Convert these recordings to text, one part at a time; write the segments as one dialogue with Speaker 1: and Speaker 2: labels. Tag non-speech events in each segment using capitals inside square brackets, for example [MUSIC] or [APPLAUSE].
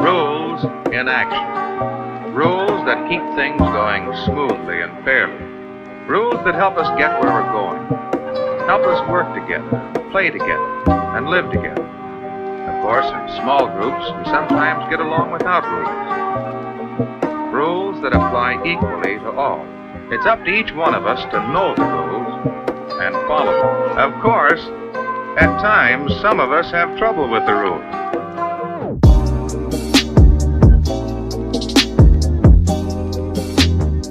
Speaker 1: rules in action. Rules that keep things going smoothly and fairly. Rules that help us get where we're going. Help us work together, play together, and live together. Of course, in small groups, we sometimes get along without rules. Rules that apply equally to all. It's up to each one of us to know the rules and follow them. Of course, at times, some of us have trouble with the rules.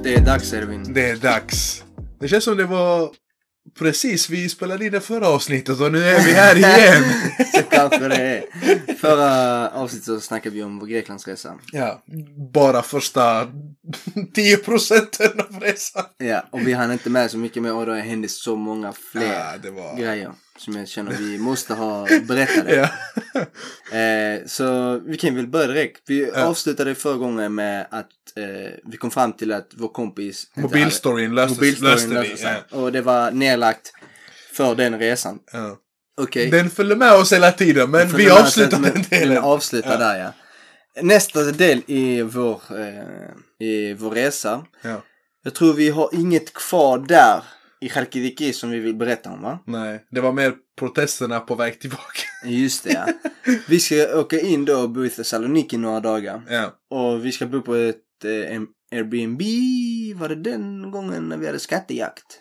Speaker 2: Det är dags Ervin.
Speaker 3: Det är dags. Det känns som det var precis vi spelade in det förra avsnittet och nu är vi här igen.
Speaker 2: [LAUGHS] Så kanske det är. Förra avsnittet så snackade vi om vår Greklandsresa.
Speaker 3: ja, bara första 10 procenten av resan.
Speaker 2: Ja, och vi hann inte med så mycket mer och det hände så många fler
Speaker 3: Ja, Ah, det var...
Speaker 2: grejer som jag känner vi måste ha berättade.
Speaker 3: Ja.
Speaker 2: Eh, så vi kan väl börja direkt. Vi
Speaker 3: Ja.
Speaker 2: avslutade förra gången med att eh, vi kom fram till att vår kompis hette
Speaker 3: Mobilstoryn
Speaker 2: Alex.
Speaker 3: löste,
Speaker 2: Mobilstoryn
Speaker 3: löste vi.
Speaker 2: löste sig. Och det var nedlagt för den resan.
Speaker 3: Ja. Ja.
Speaker 2: Okej.
Speaker 3: Den följde med oss hela tiden men
Speaker 2: För
Speaker 3: vi
Speaker 2: den här
Speaker 3: avslutar
Speaker 2: sättet-
Speaker 3: den delen.
Speaker 2: Den avslutar
Speaker 3: Ja.
Speaker 2: där ja. Nästa del i vår, eh, i vår resa.
Speaker 3: Ja.
Speaker 2: Jag tror vi har inget kvar där i Chalkidiki som vi vill berätta om va?
Speaker 3: Nej, det var mer protesterna på väg tillbaka.
Speaker 2: Just det
Speaker 3: [LAUGHS]
Speaker 2: ja. Vi ska åka in då och bo i Thessaloniki några dagar.
Speaker 3: ja.
Speaker 2: Och vi ska bo på ett eh, en Airbnb. Var det den gången när vi hade skattejakt?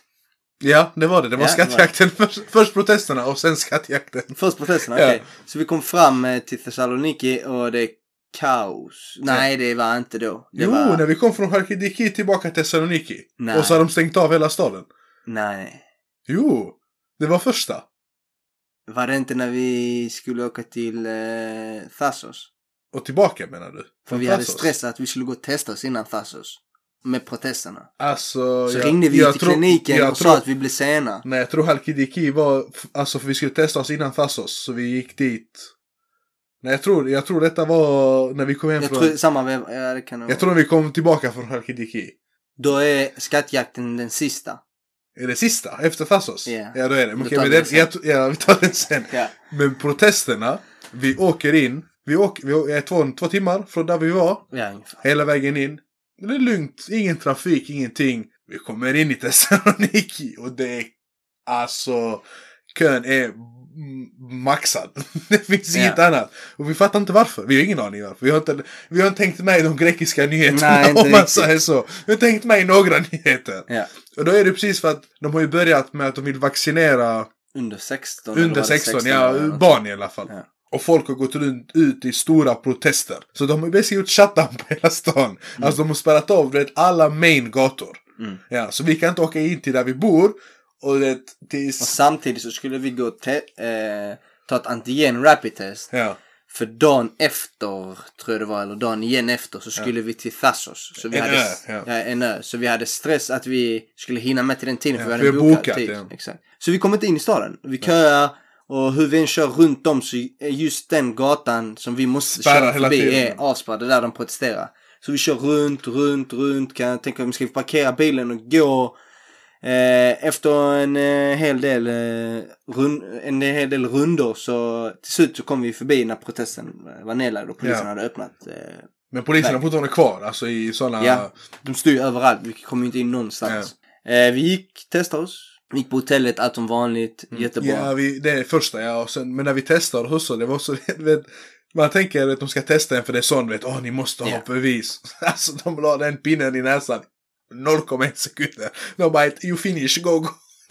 Speaker 3: ja, det var det. Det var
Speaker 2: Ja, det var det.
Speaker 3: skattjakten. Först, först protesterna och sen skattjakten.
Speaker 2: Först protesterna,
Speaker 3: Ja.
Speaker 2: okej. Så vi kom fram eh, till Thessaloniki och det är kaos. Nej, det var inte då. Det
Speaker 3: jo,
Speaker 2: var...
Speaker 3: när vi kom från Chalkidiki tillbaka till Thessaloniki.
Speaker 2: Nej.
Speaker 3: Och så har de stängt av hela staden.
Speaker 2: Nej.
Speaker 3: Jo, det var första.
Speaker 2: Var det inte när vi skulle åka till eh, Thassos?
Speaker 3: Och tillbaka menar du?
Speaker 2: För
Speaker 3: Från
Speaker 2: vi hade
Speaker 3: Thassos?
Speaker 2: stressat att vi skulle gå och testa oss innan Thassos. Med protesterna.
Speaker 3: Alltså,
Speaker 2: Så
Speaker 3: jag-
Speaker 2: ringde vi
Speaker 3: jag
Speaker 2: till
Speaker 3: tror-
Speaker 2: kliniken
Speaker 3: jag
Speaker 2: och
Speaker 3: tror- Mm,
Speaker 2: sa att vi blev sena.
Speaker 3: Nej, jag tror Halkidiki var... f- Alltså, för vi skulle testa oss innan Thassos, så vi gick dit. Nej, jag tror, jag tror detta var när vi kom hem
Speaker 2: Jag
Speaker 3: från...
Speaker 2: tror samma veva, ja det kan det
Speaker 3: Jag
Speaker 2: vara.
Speaker 3: tror när vi kom tillbaka från Halkidiki.
Speaker 2: Då är skattjakten den sista.
Speaker 3: Är det sista? Efter Thassos?
Speaker 2: Ja.
Speaker 3: Ja, då är det. Men
Speaker 2: Då
Speaker 3: Okej,
Speaker 2: tar
Speaker 3: men
Speaker 2: vi
Speaker 3: den,
Speaker 2: det sen.
Speaker 3: jag, tr- ja, vi tar den sen.
Speaker 2: Ja.
Speaker 3: Men protesterna, vi åker in. Vi, åker, vi å- är två, två timmar från där vi var.
Speaker 2: Ja, ungefär.
Speaker 3: Hela vägen in. Det är lugnt, ingen trafik, ingenting. Vi kommer in i [LAUGHS] Thessaloniki och det är... Alltså, kön är m- maxad. [LAUGHS] Det finns
Speaker 2: Ja.
Speaker 3: inget annat. Och vi fattar inte varför. Vi har ingen aning varför. Vi har inte, vi har inte tänkt med i de grekiska nyheterna
Speaker 2: Nej, inte
Speaker 3: [LAUGHS] om man
Speaker 2: riktigt.
Speaker 3: säger så. Vi har tänkt med i några nyheter.
Speaker 2: Ja.
Speaker 3: Och då är det precis för att de har ju börjat med att de vill vaccinera
Speaker 2: Under 16. eller var
Speaker 3: under
Speaker 2: det
Speaker 3: 16, ja,
Speaker 2: eller något.
Speaker 3: barn i alla fall.
Speaker 2: Ja.
Speaker 3: Och folk har gått runt ut i stora protester. Så de har ju basically gjort shutdown på hela stan. Alltså de har spärrat av du vet, alla main gator.
Speaker 2: Mm.
Speaker 3: Ja, så vi kan inte åka in till där vi bor. Och du vet,
Speaker 2: Och
Speaker 3: tills...
Speaker 2: samtidigt så skulle vi gå och te- eh, ta ett antigen rapid test.
Speaker 3: Ja.
Speaker 2: För dagen efter, tror jag det var, eller dagen igen efter, så skulle vi till Thassos. Så vi
Speaker 3: En
Speaker 2: hade,
Speaker 3: ö, ja.
Speaker 2: en ö. Så vi hade stress att vi skulle hinna med till den tiden, för
Speaker 3: Ja,
Speaker 2: vi hade bokat, tid.
Speaker 3: ja.
Speaker 2: Exakt. Så vi kom inte in i staden. Vi köar, och hur vi än kör runt om så är just den gatan som vi måste
Speaker 3: Spärrar
Speaker 2: köra
Speaker 3: hela
Speaker 2: förbi
Speaker 3: tiden.
Speaker 2: är avspärrad, det är där de protesterar. Så vi kör runt, runt, runt. Kan jag tänka om ska vi parkera bilen och gå? Eh, efter en eh, hel del eh, rund, en hel del rundor så till slut så kom vi förbi när protesten eh, var nedlagd och polisen
Speaker 3: Ja.
Speaker 2: hade öppnat. Eh,
Speaker 3: Men polisen har
Speaker 2: Nej.
Speaker 3: fortfarande kvar, alltså i sådana...
Speaker 2: Ja. de stod ju överallt, vi kom ju inte in någonstans. Eh, vi gick, testade oss. Vi gick på hotellet, allt som vanligt, jättebra.
Speaker 3: Mm. Ja, vi, det är första ja. Och sen, men när vi testade hos oss, det var så... [LAUGHS] du Vet, man tänker att de ska testa en för det är sån, vet, åh ni måste ha
Speaker 2: Ja.
Speaker 3: bevis. [LAUGHS] Alltså de la den pinnen i näsan 0,1 sekunder. De bara, you finish, go, go.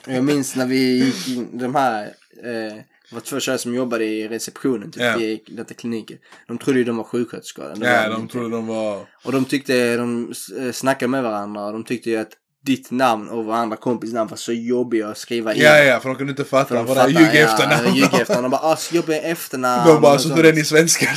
Speaker 2: Jag minns när vi gick in, de här, eh, det var två tjejer som jobbade i receptionen, typ,
Speaker 3: Ja.
Speaker 2: i detta kliniken. De trodde ju de var sjuksköterskor. det var
Speaker 3: Ja,
Speaker 2: de
Speaker 3: de
Speaker 2: inte.
Speaker 3: trodde de var...
Speaker 2: Och de tyckte, de eh, snackade med varandra och de tyckte ju att ditt namn och varandra kompis namn var så jobbiga att skriva in.
Speaker 3: Ja, ja, för de kunde inte
Speaker 2: För
Speaker 3: fatta.
Speaker 2: de
Speaker 3: Bara
Speaker 2: fattar,
Speaker 3: ljug
Speaker 2: ja,
Speaker 3: efternamn.
Speaker 2: Ljug efternamn. De bara, ah, så jobbiga efternamn.
Speaker 3: De bara,
Speaker 2: och
Speaker 3: så
Speaker 2: sånt.
Speaker 3: tog den i svenska.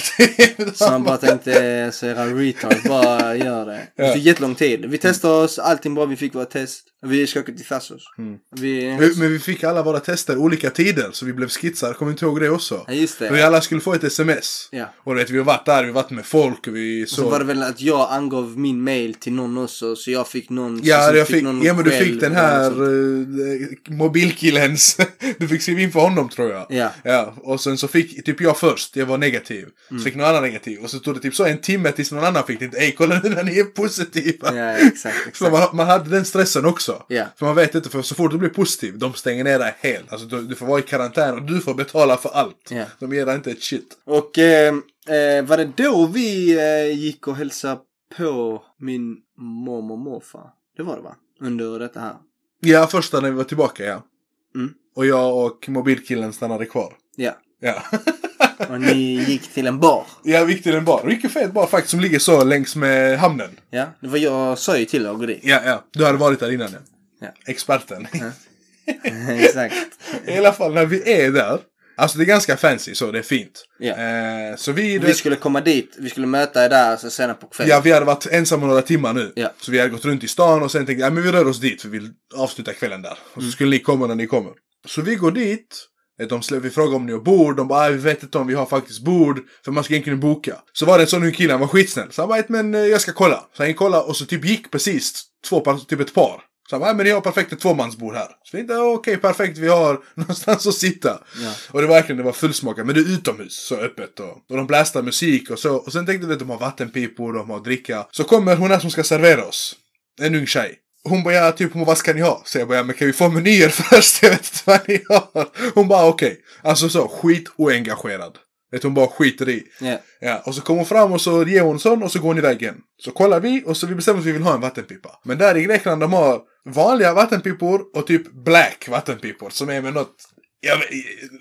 Speaker 2: Så han bara tänkte, eh, så era retards, bara gör det. Det
Speaker 3: Ja.
Speaker 2: tog jättelång tid. Vi testade oss, allting bra, vi fick våra test. Vi ska åka till Thassos.
Speaker 3: Mm.
Speaker 2: Vi...
Speaker 3: Men vi fick alla våra tester olika tider, så vi blev skitsar. Kommer inte ihåg det också?
Speaker 2: Ja, just
Speaker 3: Vi
Speaker 2: det.
Speaker 3: alla skulle få ett sms.
Speaker 2: Ja.
Speaker 3: Och du vet, vi har varit där, vi har varit med folk och vi
Speaker 2: Så var det
Speaker 3: så.
Speaker 2: väl att jag angav min mail till någon också, så jag fick någon
Speaker 3: Ja,
Speaker 2: som
Speaker 3: jag fick,
Speaker 2: någon
Speaker 3: ja men du
Speaker 2: skäll
Speaker 3: fick den
Speaker 2: eller
Speaker 3: här
Speaker 2: något sånt.
Speaker 3: eh, mobilkillens... [LAUGHS] du fick skriva in för honom tror jag.
Speaker 2: Ja.
Speaker 3: Ja, och sen så fick typ jag först, jag var negativ.
Speaker 2: Mm.
Speaker 3: Så fick någon annan negativ. Och så tog det typ så en timme tills någon annan fick det. Ej, kolla nu när ni är positiva.
Speaker 2: Ja, exakt.
Speaker 3: [LAUGHS] Så
Speaker 2: exakt.
Speaker 3: man, man hade den stressen också.
Speaker 2: Ja.
Speaker 3: För man vet inte, för så fort du blir positiv, de stänger ner dig helt. Alltså du, du får vara i karantän och du får betala för allt.
Speaker 2: Ja.
Speaker 3: De ger dig inte ett shit.
Speaker 2: Och eh, eh, var det då vi eh, gick och hälsade på min mormor och morfar? Det var det va? Under detta här.
Speaker 3: Ja, första när vi var tillbaka ja.
Speaker 2: Mm.
Speaker 3: Och jag och mobilkillen stannade kvar.
Speaker 2: Ja.
Speaker 3: Ja.
Speaker 2: [LAUGHS] Och ni gick till en bar.
Speaker 3: ja, vi gick till en bar. Mycket fet bar faktiskt som ligger så längs med hamnen.
Speaker 2: Ja, det var jag sa ju till dig att gå dit.
Speaker 3: Ja, ja. Du hade varit där innan
Speaker 2: Ja. [LAUGHS]
Speaker 3: Experten.
Speaker 2: Exakt.
Speaker 3: I alla fall när vi är där. Alltså det är ganska fancy så, det är fint.
Speaker 2: Ja.
Speaker 3: Eh, så vi,
Speaker 2: Vi skulle komma dit, vi skulle möta er där så senare på kvällen.
Speaker 3: ja, vi hade varit ensamma några timmar nu.
Speaker 2: Ja.
Speaker 3: Så vi hade gått runt i stan och sen tänkte jag, men vi rör oss dit för vi vill avsluta kvällen där. Och så skulle ni komma när ni kommer. Så vi går dit. Eh, De slä, vi frågar om ni har bord, de bara "Ah, vi vet inte om vi har faktiskt bord, för man ska egentligen boka. Så var det en sån ung kille, han var skitsnäll. Så han bara, "Ett, men eh, jag ska kolla. Så han gick och kollade och så typ gick precis två, par- typ ett par. Så han bara, "Ah, men ni har perfekt ett tvåmansbord här. Så vi tänkte, "Ah, okej perfekt, vi har [LAUGHS] någonstans att sitta.
Speaker 2: Ja.
Speaker 3: Och det var verkligen, det var fullsmakat. Men det är utomhus, så öppet. Och, och de blastar musik och så. Och sen tänkte vi att de har vattenpipor, de har dricka. Så kommer hon här som ska servera oss. En ung tjej. Hon bara, ja, typ, hon bara, vad ska ni ha? Så jag bara, ja, men kan vi få menyer [LAUGHS] först? Jag vet inte vad ni har. Hon bara, okej. Alltså så, skit oengagerad. Vet hon bara skiter i.
Speaker 2: Ja.
Speaker 3: Ja, och så kommer hon fram och så ger hon sån och så går hon iväg igen. Så kollar vi och så vi bestämmer att vi vill ha en vattenpipa. Men där i Grekland de har vanliga vattenpipor och typ black vattenpipor som är med något... Jag vet,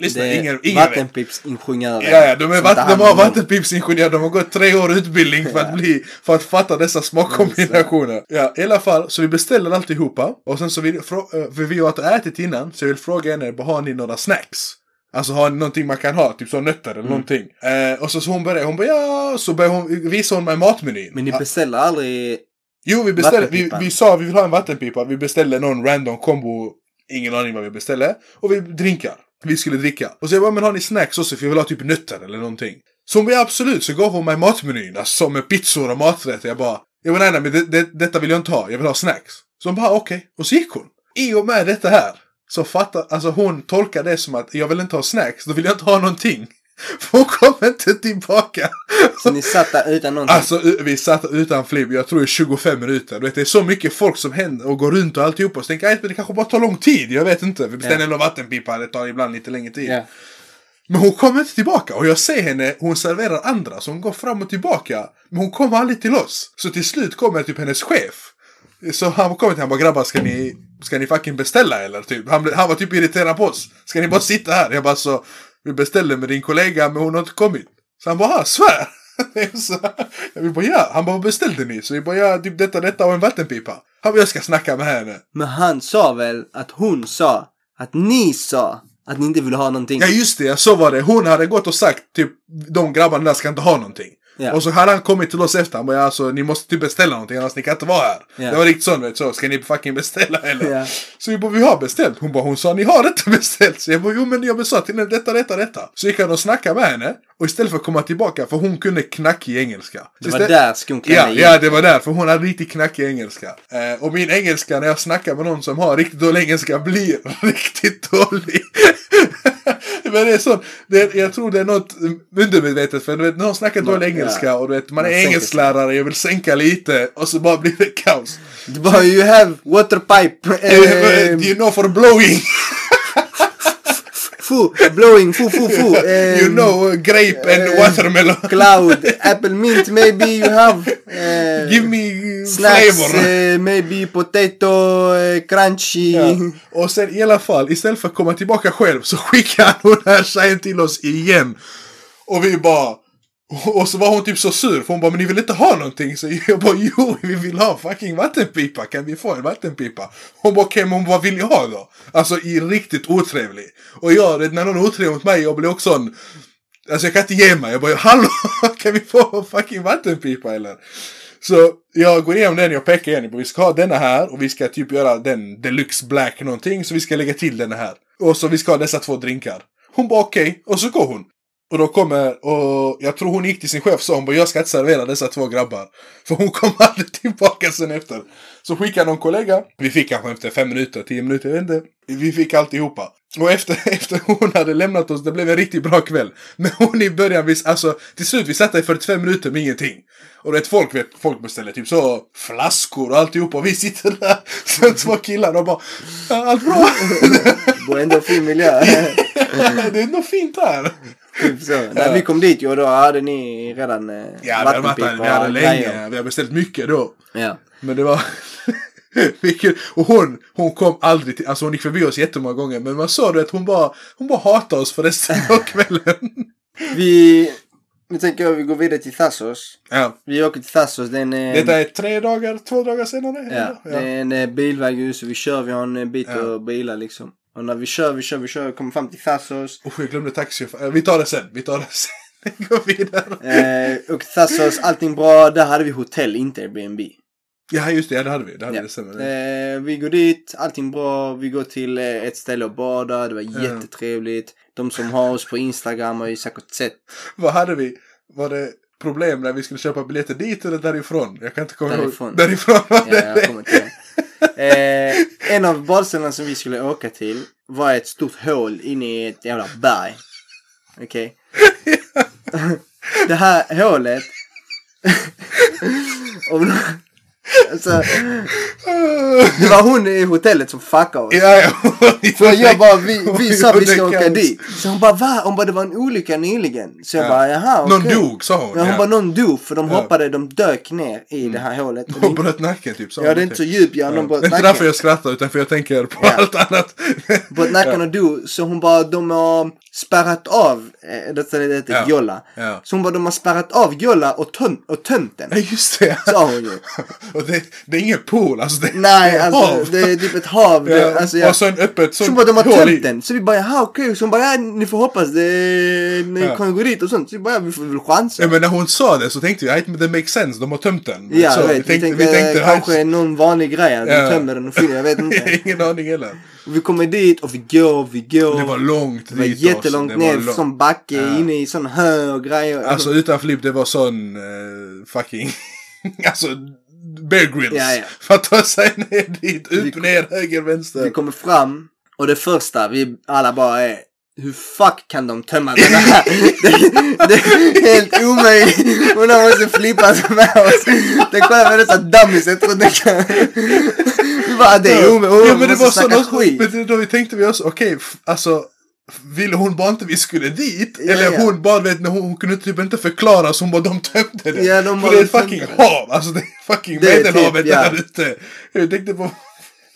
Speaker 3: lyssna,
Speaker 2: Det är
Speaker 3: ingen, ingen vet.
Speaker 2: vattenpipsingenjörer.
Speaker 3: Ja, ja, de, är
Speaker 2: som
Speaker 3: vatten,
Speaker 2: tar hand
Speaker 3: de har
Speaker 2: om dem.
Speaker 3: vattenpipsingenjörer. De har gått tre år utbildning för att, bli, för att fatta dessa smakkombinationer. Ja, i alla fall, så vi beställer alltihopa. Och sen så vill, frå- eh, för vi har inte ätit innan, så jag vill fråga henne, bara, har ni några snacks? Alltså har ni någonting man kan ha, typ så nötter
Speaker 2: Mm.
Speaker 3: eller någonting. Eh, och så, så hon börjar, hon bara ja, så börjar hon, visa hon mig matmenyn.
Speaker 2: Men ni
Speaker 3: Ja.
Speaker 2: beställer aldrig...
Speaker 3: Jo, vi beställde, vi,
Speaker 2: Vattenpipan.
Speaker 3: vi sa vi vill ha en vattenpipa, vi beställde någon random combo, ingen aning vad vi beställde. Och vi drinkar. Vi skulle dricka. Och så jag bara, men har ni snacks också? För jag vill ha typ nötter eller någonting. Så hon bara, "Ja, absolut, så gav hon mig matmenyn, alltså med pizzor och maträtter. Jag bara, jag bara, nej, nej, men det, det, detta vill jag inte ha, jag vill ha snacks. Så hon bara, okej. Och så gick hon. I och med detta här, så fattar, alltså hon tolkar det som att jag vill inte ha snacks, då vill jag inte ha någonting. [LAUGHS] För hon kommer inte tillbaka.
Speaker 2: Så ni satt där utan någonting.
Speaker 3: Alltså u- vi satt utan flipp, jag tror i 25 minuter. Du vet, det är så mycket folk som händer och går runt och alltihopa. Så tänker jag, "Aj, men det kanske bara tar lång tid. Jag vet inte. Vi beställer en vattenpipa, det tar ibland lite längre tid.
Speaker 2: Ja.
Speaker 3: Men hon kommer inte tillbaka och jag ser henne, hon serverar andra så hon går fram och tillbaka. Men hon kommer aldrig till oss. Så till slut kommer typ hennes chef. Så han kommer till han bara grabbar ska ni, ska ni fucking beställa eller? Typ. Han, blev- han var typ irriterad på oss. Ska ni bara sitta här? Jag bara så, vi beställde med din kollega men hon har inte kommit. Så han bara, "Ah, svär! [LAUGHS] så, vi bara ja, han bara vad beställde ni? Så vi bara ja, typ detta, detta och en vattenpipa. Han bara jag ska snacka med henne.
Speaker 2: Men han sa väl att hon sa att ni sa att ni inte ville ha någonting.
Speaker 3: Ja just det, ja, så var det. Hon hade gått och sagt typ de grabbarna där ska inte ha någonting.
Speaker 2: Ja.
Speaker 3: Och så hade han kommit till oss efter. Han bara, alltså, ni måste typ beställa någonting annars ni kan inte vara här.
Speaker 2: Ja.
Speaker 3: Det var riktigt sån, vet, så. Ska ni fucking beställa eller?
Speaker 2: Ja.
Speaker 3: Så vi bara, vi har beställt. Hon bara, hon sa ni har inte [LAUGHS] beställt. Så jag bara, jo men jag sa till henne detta, detta, detta. Så gick han och snackade med henne. Och istället för att komma tillbaka, för hon kunde knackig engelska.
Speaker 2: det
Speaker 3: Så
Speaker 2: var
Speaker 3: istä-
Speaker 2: där skon
Speaker 3: Ja,
Speaker 2: klämde i.
Speaker 3: ja, det var där. För hon hade riktigt knackig engelska. Eh, och min engelska när jag snackar med någon som har riktigt dålig engelska blir [LAUGHS] riktigt dålig. [LAUGHS] Men det är så, det, jag tror det är något undermedvetet. För du vet, någon snackar
Speaker 2: Man-
Speaker 3: dålig engelska
Speaker 2: ja.
Speaker 3: och du vet, man är
Speaker 2: Man sänker sig.
Speaker 3: engelsklärare, jag vill sänka lite. Och så bara blir det
Speaker 2: [LAUGHS]
Speaker 3: kaos.
Speaker 2: Det var you have water
Speaker 3: [LAUGHS]
Speaker 2: pipe.
Speaker 3: Eh,
Speaker 2: Eh,
Speaker 3: you know for blowing, [LAUGHS]
Speaker 2: fu, blowing, fu, fu, fu. Eh,
Speaker 3: [LAUGHS] you know uh, grape and
Speaker 2: eh, [LAUGHS]
Speaker 3: watermelon.
Speaker 2: Cloud, apple mint maybe you have. Eh,
Speaker 3: Give me uh,
Speaker 2: Snacks,
Speaker 3: flavor.
Speaker 2: eh, maybe potato, eh, crunchy.
Speaker 3: Ja. Och sen i alla fall, istället för att komma tillbaka själv så [LAUGHS] skickar han hon här tjejen till oss igen. Och vi bara... Och så var hon typ så sur för hon bara men ni vill inte ha någonting? Så [LAUGHS] jag bara jo vi vill ha fucking vattenpipa, kan vi få en vattenpipa? Hon bara okej men vad vill jag ha då? Alltså i riktigt otrevlig. Och jag, det- när någon är otrevlig mot mig jag blir också en... Alltså jag kan inte ge mig, jag bara hallå [LAUGHS] kan vi få en fucking vattenpipa eller? Så jag går igenom den, jag pekar igen på vi ska ha denna här och vi ska typ göra den deluxe black någonting så vi ska lägga till den här. Och så vi ska ha dessa två drinkar. Hon bara okej, och så går hon. Och då kommer, och jag tror hon gick till sin chef och sa hon bara, jag ska inte servera dessa två grabbar. [LAUGHS] För hon kom aldrig tillbaka sen efter. Så skickade någon kollega. Vi fick kanske efter fem minuter, tio minuter, jag vet inte. Vi fick alltihopa. Och efter, [LAUGHS] efter hon hade lämnat oss, det blev en riktigt bra kväll. Men hon i början, vi, alltså till slut, vi satt där i 45 minuter med ingenting. Och det är ett folk, vet, folk beställer typ så flaskor och alltihopa. Och vi sitter där, [LAUGHS] sen två killar, de bara,
Speaker 2: [LAUGHS]
Speaker 3: allt bra?
Speaker 2: Bor ändå i fin
Speaker 3: [LAUGHS]
Speaker 2: miljö.
Speaker 3: det är något fint här.
Speaker 2: [LAUGHS] typ så. När vi kom dit, ja då hade ni redan eh,
Speaker 3: Ja, vi hade varit där,
Speaker 2: vattenpipa
Speaker 3: vi hade
Speaker 2: och
Speaker 3: länge,
Speaker 2: grejer.
Speaker 3: vi hade beställt mycket då.
Speaker 2: Ja.
Speaker 3: Men det var... [LAUGHS] Vilket, och hon, hon kom aldrig till, alltså hon gick förbi oss jättemånga gånger men man såg det att hon bara, hon bara hatade oss för resten
Speaker 2: [LAUGHS]
Speaker 3: av kvällen.
Speaker 2: Vi, nu tänker jag vi går vidare till Thassos.
Speaker 3: Ja.
Speaker 2: Vi åker till Thassos, det är en, eh,
Speaker 3: Detta är tre dagar, två dagar senare.
Speaker 2: ja, det är en eh, bilväg just, så vi kör, vi har en eh, bit
Speaker 3: Ja.
Speaker 2: att bila liksom. Och när vi kör, vi kör, vi kör, kommer fram till Thassos.
Speaker 3: Usch, jag glömde taxichauffören. Vi tar det sen, vi tar det [LAUGHS] sen. Vi går vidare.
Speaker 2: Eh, och Thassos, allting bra. Där hade vi hotell, inte Airbnb.
Speaker 3: Ja just det, ja, det hade vi. Det hade
Speaker 2: Ja.
Speaker 3: vi sen.
Speaker 2: Eh, vi går dit, allting bra. Vi går till eh, ett ställe och badar. Det var
Speaker 3: Ja.
Speaker 2: jättetrevligt. De som har oss på Instagram har ju säkert sett
Speaker 3: Vad hade vi? Var det problem när vi skulle köpa biljetter dit eller därifrån? Jag kan inte komma
Speaker 2: Därifrån.
Speaker 3: ihåg. Därifrån. var
Speaker 2: Ja,
Speaker 3: det.
Speaker 2: jag kommer till det. Eh, en av badstränderna som vi skulle åka till var ett stort hål inne i ett jävla berg. Okej? det här hålet... om, alltså, det var hon i hotellet som fuckade oss.
Speaker 3: [LAUGHS] Ja, ja.
Speaker 2: För jag bara, vi,
Speaker 3: Hon
Speaker 2: vi sa vi ska
Speaker 3: gjorde
Speaker 2: åka
Speaker 3: kaos.
Speaker 2: dit. Så hon bara, va? Hon bara, det var en olycka nyligen. Så jag
Speaker 3: Ja.
Speaker 2: bara, jaha okej.
Speaker 3: Någon dog sa hon.
Speaker 2: Ja, hon bara, nåon dog. För de
Speaker 3: Ja.
Speaker 2: hoppade, de dök ner i det här hålet. Och det
Speaker 3: Hon bröt nacken typ. sa
Speaker 2: Ja,
Speaker 3: hon
Speaker 2: det är
Speaker 3: typ.
Speaker 2: inte så djup ja.
Speaker 3: Ja.
Speaker 2: De
Speaker 3: Det är
Speaker 2: bröt
Speaker 3: inte
Speaker 2: nacken.
Speaker 3: därför jag skrattar utan för jag tänker på
Speaker 2: Ja.
Speaker 3: allt annat.
Speaker 2: Bröt nacken och dog. Så hon bara, de har spärrat av, eh, detta det heter
Speaker 3: Ja.
Speaker 2: Jolla.
Speaker 3: Ja.
Speaker 2: Så hon bara, de har spärrat av Jolla och, töm- och tömt den.
Speaker 3: Nej just det.
Speaker 2: Sa hon ju.
Speaker 3: [LAUGHS] och det, det är ingen pool alltså. Det, det
Speaker 2: Nej,
Speaker 3: är
Speaker 2: alltså
Speaker 3: hav.
Speaker 2: det är typ ett hav. Det,
Speaker 3: Ja,
Speaker 2: alltså, jag,
Speaker 3: Och så en öppet
Speaker 2: så
Speaker 3: sånt
Speaker 2: hon bara, de har
Speaker 3: hål i.
Speaker 2: tömt den. Så vi bara, jaha okej. Så hon bara, ja, ni får hoppas det, ni
Speaker 3: Ja.
Speaker 2: kan gå dit och sånt. Så vi bara, ja, vi får väl chansa.
Speaker 3: Ja, men när hon sa det så tänkte jag, "Ajt, men det makes sense, de har tömt den.
Speaker 2: Ja,
Speaker 3: så,
Speaker 2: jag vet. Vi tänkte, kanske någon vanlig grej. Att
Speaker 3: Ja.
Speaker 2: de tömmer den och fyller, jag
Speaker 3: [LAUGHS]
Speaker 2: vet inte.
Speaker 3: ingen aning heller.
Speaker 2: Och vi kommer dit och vi går, vi går.
Speaker 3: Det var långt
Speaker 2: Det var
Speaker 3: dit. alltså.
Speaker 2: jättelångt
Speaker 3: Det var
Speaker 2: ner,
Speaker 3: långt.
Speaker 2: som backe,
Speaker 3: Ja.
Speaker 2: inne i sån hö och grejer.
Speaker 3: Alltså utan flipp, det var sån eh, fucking... [LAUGHS] alltså Bear Grylls.
Speaker 2: Ja, ja.
Speaker 3: För att ta sig ner dit,
Speaker 2: Vi
Speaker 3: upp,
Speaker 2: kom-
Speaker 3: ner, höger, vänster.
Speaker 2: vi kommer fram och det första vi alla bara är hur fuck kan de tömma den här? Det, [LAUGHS] det är helt omöjligt. Hon har måste flippa sig med oss. Den kollar på dessa dummies, jag tror den kan... Vi bara, det är omöjligt.
Speaker 3: ja, men det var
Speaker 2: så
Speaker 3: sån
Speaker 2: skit.
Speaker 3: Men det- då vi tänkte vi oss, okej, f- alltså. f- Ville hon bara inte vi skulle dit?
Speaker 2: Ja,
Speaker 3: Eller
Speaker 2: ja.
Speaker 3: hon bara, vet ni, hon, hon kunde typ inte förklara så hon bara de tömde det.
Speaker 2: Ja, de
Speaker 3: För
Speaker 2: bara,
Speaker 3: det är ett
Speaker 2: de
Speaker 3: fucking
Speaker 2: tömde
Speaker 3: hav, alltså det är fucking
Speaker 2: Det är typ,
Speaker 3: Medelhavet
Speaker 2: ja.
Speaker 3: där ute. Jag tänkte på,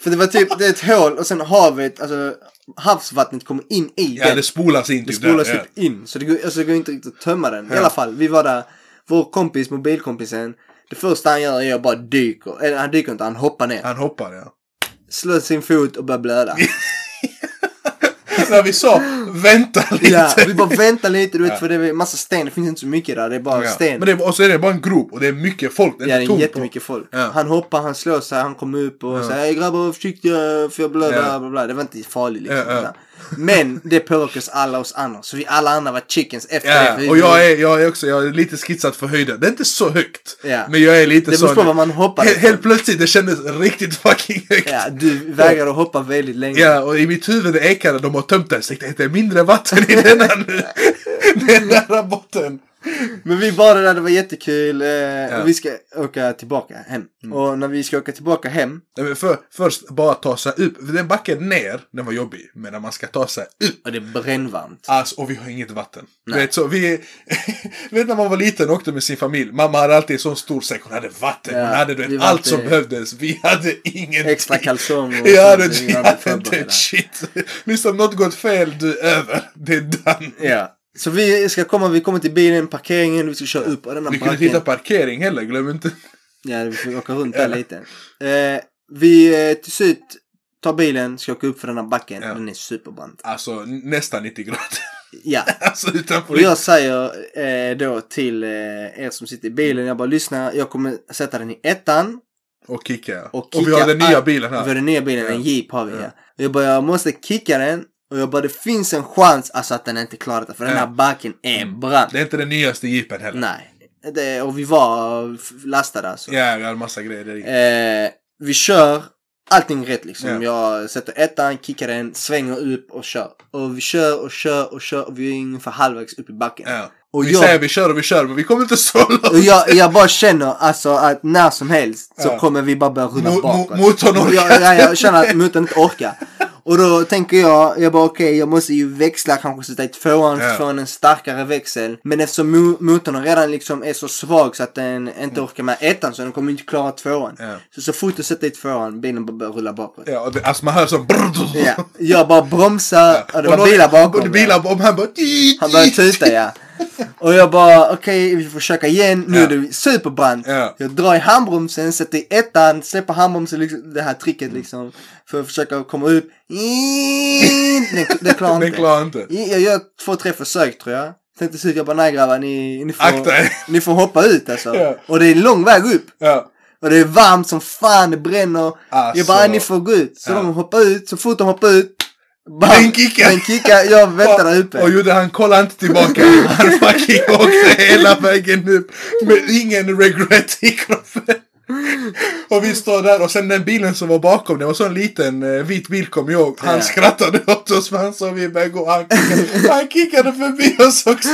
Speaker 2: För det var typ, det är ett hål och sen havet, alltså havsvattnet kommer in i
Speaker 3: ja
Speaker 2: den.
Speaker 3: det spolas in typ
Speaker 2: Det spolas
Speaker 3: där.
Speaker 2: typ in. Så det går, alltså, det går inte riktigt att tömma den. I
Speaker 3: Ja.
Speaker 2: alla fall, vi var där. Vår kompis, mobilkompisen. Det första han gör är att bara dyker. Eller han dyker inte, han hoppar ner.
Speaker 3: ja. Han hoppar ja. [LAUGHS]
Speaker 2: Slår sin fot och börjar blöda.
Speaker 3: När vi sa vänta lite.
Speaker 2: ja, vi bara väntar lite du vet
Speaker 3: Ja.
Speaker 2: för det är massa sten. Det finns inte så mycket där. Det är bara
Speaker 3: Ja.
Speaker 2: sten.
Speaker 3: Men det, är- och så är det bara en grop och det är mycket folk. Det är
Speaker 2: Ja, det
Speaker 3: inte
Speaker 2: är
Speaker 3: tomt.
Speaker 2: jättemycket folk.
Speaker 3: Ja.
Speaker 2: Han hoppar, han slår sig, han kommer upp och
Speaker 3: Ja.
Speaker 2: säger "Hej grabbar var försiktiga för jag blöder.
Speaker 3: Ja.
Speaker 2: Bla, bla. Det var inte farligt liksom.
Speaker 3: Ja, ja.
Speaker 2: Men det påverkar oss alla oss andra. Så vi alla andra var chickens efter det.
Speaker 3: Ja,
Speaker 2: för vi-
Speaker 3: och jag är, jag är också jag är lite skissat för höjden. Det är inte så högt.
Speaker 2: Ja.
Speaker 3: Men jag är lite
Speaker 2: Det
Speaker 3: sån.
Speaker 2: beror på vad man hoppar
Speaker 3: Helt,
Speaker 2: ifrån.
Speaker 3: helt plötsligt, det kändes riktigt fucking högt.
Speaker 2: Ja, du vägrar att hoppa väldigt länge.
Speaker 3: Ja, och i mitt huvud det ekade, de har tömt den. Så jag tänkte, det är mindre vatten i denna [LAUGHS] nu. den där botten.
Speaker 2: Men vi badade där, det var jättekul. Eh, och vi ska åka tillbaka hem.
Speaker 3: Mm.
Speaker 2: Och när vi ska åka tillbaka hem.
Speaker 3: Nej, men för, först bara ta sig upp. För Den backen ner, den var jobbig. Men när man ska ta sig upp.
Speaker 2: Och det är brännvarmt.
Speaker 3: Alltså, och vi har inget vatten. Du vet, så vi, [LAUGHS] du vet när man var liten och åkte med sin familj. Mamma hade alltid en sån stor säck. Hon hade vatten,
Speaker 2: Ja,
Speaker 3: hon hade du
Speaker 2: vi
Speaker 3: vet,
Speaker 2: var
Speaker 3: allt
Speaker 2: inte-
Speaker 3: som behövdes. Vi hade ingenting.
Speaker 2: Extra kalsonger och
Speaker 3: [LAUGHS] Ja,
Speaker 2: sånt,
Speaker 3: du,
Speaker 2: vi
Speaker 3: vi
Speaker 2: hade
Speaker 3: hade
Speaker 2: förberedda.
Speaker 3: inte ett shit. Lyssna, om något gått fel, du är över. Det är done.
Speaker 2: Ja. Så vi ska komma, vi kommer till bilen, parkeringen, vi ska köra upp och denna
Speaker 3: Vi kunde
Speaker 2: bracken.
Speaker 3: inte hitta parkering heller, glöm inte.
Speaker 2: Ja, vi får åka runt där lite. Eh, vi eh, till slut tar bilen, ska åka upp för den här backen.
Speaker 3: Ja.
Speaker 2: Den är superbrant.
Speaker 3: Alltså n- nästan 90 grader. [LAUGHS]
Speaker 2: Ja.
Speaker 3: Alltså utanför.
Speaker 2: Och jag säger eh, då till eh, er som sitter i bilen, jag bara lyssna, jag kommer sätta den i ettan.
Speaker 3: Och kicka.
Speaker 2: Och
Speaker 3: Och, vi
Speaker 2: kicka
Speaker 3: har den nya
Speaker 2: all-
Speaker 3: bilen
Speaker 2: Vi har
Speaker 3: här.
Speaker 2: den nya bilen, en
Speaker 3: Ja.
Speaker 2: jeep har vi. Ja.
Speaker 3: Ja.
Speaker 2: Jag bara, jag måste kicka den Och jag bara, det finns en chans alltså att den inte klarar det. För den här
Speaker 3: Ja. Mm.
Speaker 2: backen är brant.
Speaker 3: Det är inte den nyaste jeepen heller.
Speaker 2: Nej. Det, och vi var f- lastade alltså.
Speaker 3: Ja, vi hade massa grejer där i.
Speaker 2: Eh, vi kör allting rätt liksom.
Speaker 3: Ja.
Speaker 2: Jag sätter ettan, kickar den, svänger upp och kör. Och vi kör och kör och kör och vi är ungefär halvvägs upp i backen.
Speaker 3: Ja.
Speaker 2: Och
Speaker 3: vi
Speaker 2: jag-
Speaker 3: säger vi kör och vi kör, men vi kommer inte så långt.
Speaker 2: Och
Speaker 3: [LAUGHS]
Speaker 2: jag, jag bara känner alltså att när som helst så
Speaker 3: Ja.
Speaker 2: kommer vi bara börja rulla
Speaker 3: Mo-
Speaker 2: bakåt.
Speaker 3: mo- motorn orkar
Speaker 2: jag, ja, jag känner att motorn inte orkar. Och då tänker jag, jag bara okej, jag måste ju växla, kanske sätta i tvåan
Speaker 3: Ja.
Speaker 2: från en starkare växel. Men eftersom mo- motorn redan liksom är så svag så att den inte orkar med ettan så den kommer inte klara tvåan.
Speaker 3: Ja.
Speaker 2: Så, så fort du sätter i tvåan, bilen bara börjar rulla bakåt.
Speaker 3: Ja, och det, alltså man hör så brrr, [LAUGHS]
Speaker 2: Ja. Jag bara bromsar och det var
Speaker 3: någon-
Speaker 2: bilar bakom.
Speaker 3: och det
Speaker 2: mig.
Speaker 3: Bilar bakom. Han bara...
Speaker 2: Han
Speaker 3: [LAUGHS]
Speaker 2: började tuta ja. Och jag bara okej vi får försöka igen. Nu
Speaker 3: Ja.
Speaker 2: är det superbrant.
Speaker 3: Ja.
Speaker 2: Jag drar i handbromsen, sätter i ettan, släpper handbromsen. Liksom, det här tricket liksom. För att försöka komma upp. Det, det klarar
Speaker 3: [LAUGHS] Den
Speaker 2: inte.
Speaker 3: klarar inte.
Speaker 2: Jag gör två, tre försök tror jag. Sen till slut jag bara nej grabbar ni, ni,
Speaker 3: Akta er."
Speaker 2: får, ni får hoppa ut alltså.
Speaker 3: Ja.
Speaker 2: Och det är lång väg upp.
Speaker 3: [LAUGHS] Ja.
Speaker 2: Och det är varmt som fan, det bränner.
Speaker 3: Alltså.
Speaker 2: Jag bara, ni får gå ut. Så
Speaker 3: Ja.
Speaker 2: de hoppar ut, så fort de hoppar ut. Bam,
Speaker 3: Den kickar.
Speaker 2: Den kickar,
Speaker 3: [LAUGHS]
Speaker 2: jag väntar där uppe.
Speaker 3: Och gjorde han kollade inte
Speaker 2: [LAUGHS]
Speaker 3: tillbaka. Han fucking åkte hela vägen upp. Med ingen regret i kroppen. Och vi står där och sen den bilen som var bakom, det var så en liten eh, vit bil kommer jag ihåg. Han
Speaker 2: Ja.
Speaker 3: skrattade åt oss för han såg vi började gå. Han kickade, han kickade förbi oss också.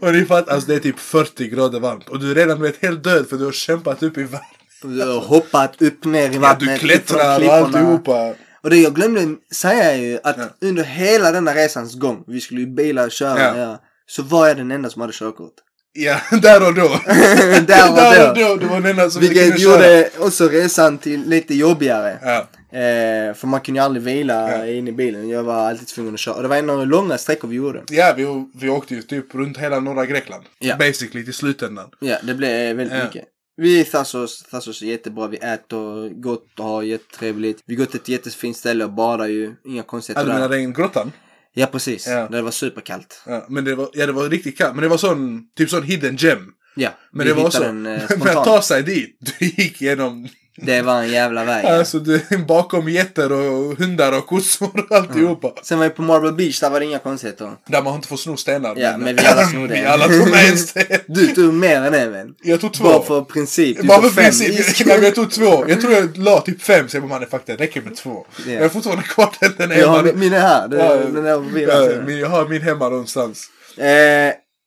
Speaker 3: Och ni fattar, alltså det är typ 40 grader varmt. Och du är redan du vet, helt död för du har kämpat upp i värmen.
Speaker 2: Du har hoppat upp ner i
Speaker 3: Ja,
Speaker 2: vattnet.
Speaker 3: du
Speaker 2: upp
Speaker 3: klättrar
Speaker 2: från
Speaker 3: och
Speaker 2: klipporna.
Speaker 3: alltihopa.
Speaker 2: Och det jag glömde säga är ju att
Speaker 3: Ja.
Speaker 2: under hela denna resans gång, vi skulle ju bila och köra,
Speaker 3: Ja.
Speaker 2: ja, så var jag den enda som hade
Speaker 3: [LAUGHS]
Speaker 2: körkort.
Speaker 3: Ja, där och då.
Speaker 2: Där
Speaker 3: Där och
Speaker 2: var det.
Speaker 3: då, det var den enda som vi kunde
Speaker 2: Vilket
Speaker 3: köra.
Speaker 2: gjorde också resan till lite jobbigare.
Speaker 3: Ja,
Speaker 2: Eh, för man kunde ju aldrig vila
Speaker 3: Ja.
Speaker 2: in i bilen. Jag var alltid tvungen att köra. Och det var en av de långa sträckor vi gjorde.
Speaker 3: ja vi, vi åkte ju typ runt hela norra Grekland.
Speaker 2: Ja.
Speaker 3: Basically till slutändan.
Speaker 2: Ja, det blev väldigt
Speaker 3: Ja.
Speaker 2: mycket. Vi i Thassos, Thassos är jättebra. Vi äter gott och har jättetrevligt. Vi går till ett jättefint ställe och badar ju. Inga
Speaker 3: Ja,
Speaker 2: konstigheter
Speaker 3: du
Speaker 2: där.
Speaker 3: menar regngrottan?
Speaker 2: Ja, precis.
Speaker 3: Ja.
Speaker 2: Det var superkallt.
Speaker 3: Ja, men det var, ja, det var riktigt kallt. Men det var sån, typ sån hidden gem.
Speaker 2: Ja,
Speaker 3: Men
Speaker 2: vi
Speaker 3: det var
Speaker 2: hittade
Speaker 3: så.
Speaker 2: den eh,
Speaker 3: [LAUGHS] men att
Speaker 2: spontant.
Speaker 3: ta sig dit, [LAUGHS] du gick genom
Speaker 2: Det var en jävla väg. ja.
Speaker 3: alltså, du, bakom getter och hundar och kossor och alltihopa.
Speaker 2: Sen var vi på Marble Beach, där var det inga konstigheter.
Speaker 3: Där man inte får sno stenar.
Speaker 2: Ja, men vi alla snodde.
Speaker 3: [LAUGHS] vi alla tog
Speaker 2: [LAUGHS]
Speaker 3: med en sten.
Speaker 2: Du tog mer än en vän.
Speaker 3: Jag tog två.
Speaker 2: Bara för princip. Du
Speaker 3: Bara för
Speaker 2: tog fem [LAUGHS]
Speaker 3: princip.
Speaker 2: isk.
Speaker 3: Nej, men jag tog två. Jag tror jag la typ fem. Så jag bara, man, det faktiskt räcker med två.
Speaker 2: Ja.
Speaker 3: Jag har fortfarande kvar den. den
Speaker 2: Jag
Speaker 3: hemma.
Speaker 2: har min- min är här. Det,
Speaker 3: Ja,
Speaker 2: den där mobilen.
Speaker 3: ja, min, jag har min hemma någonstans.
Speaker 2: Eh,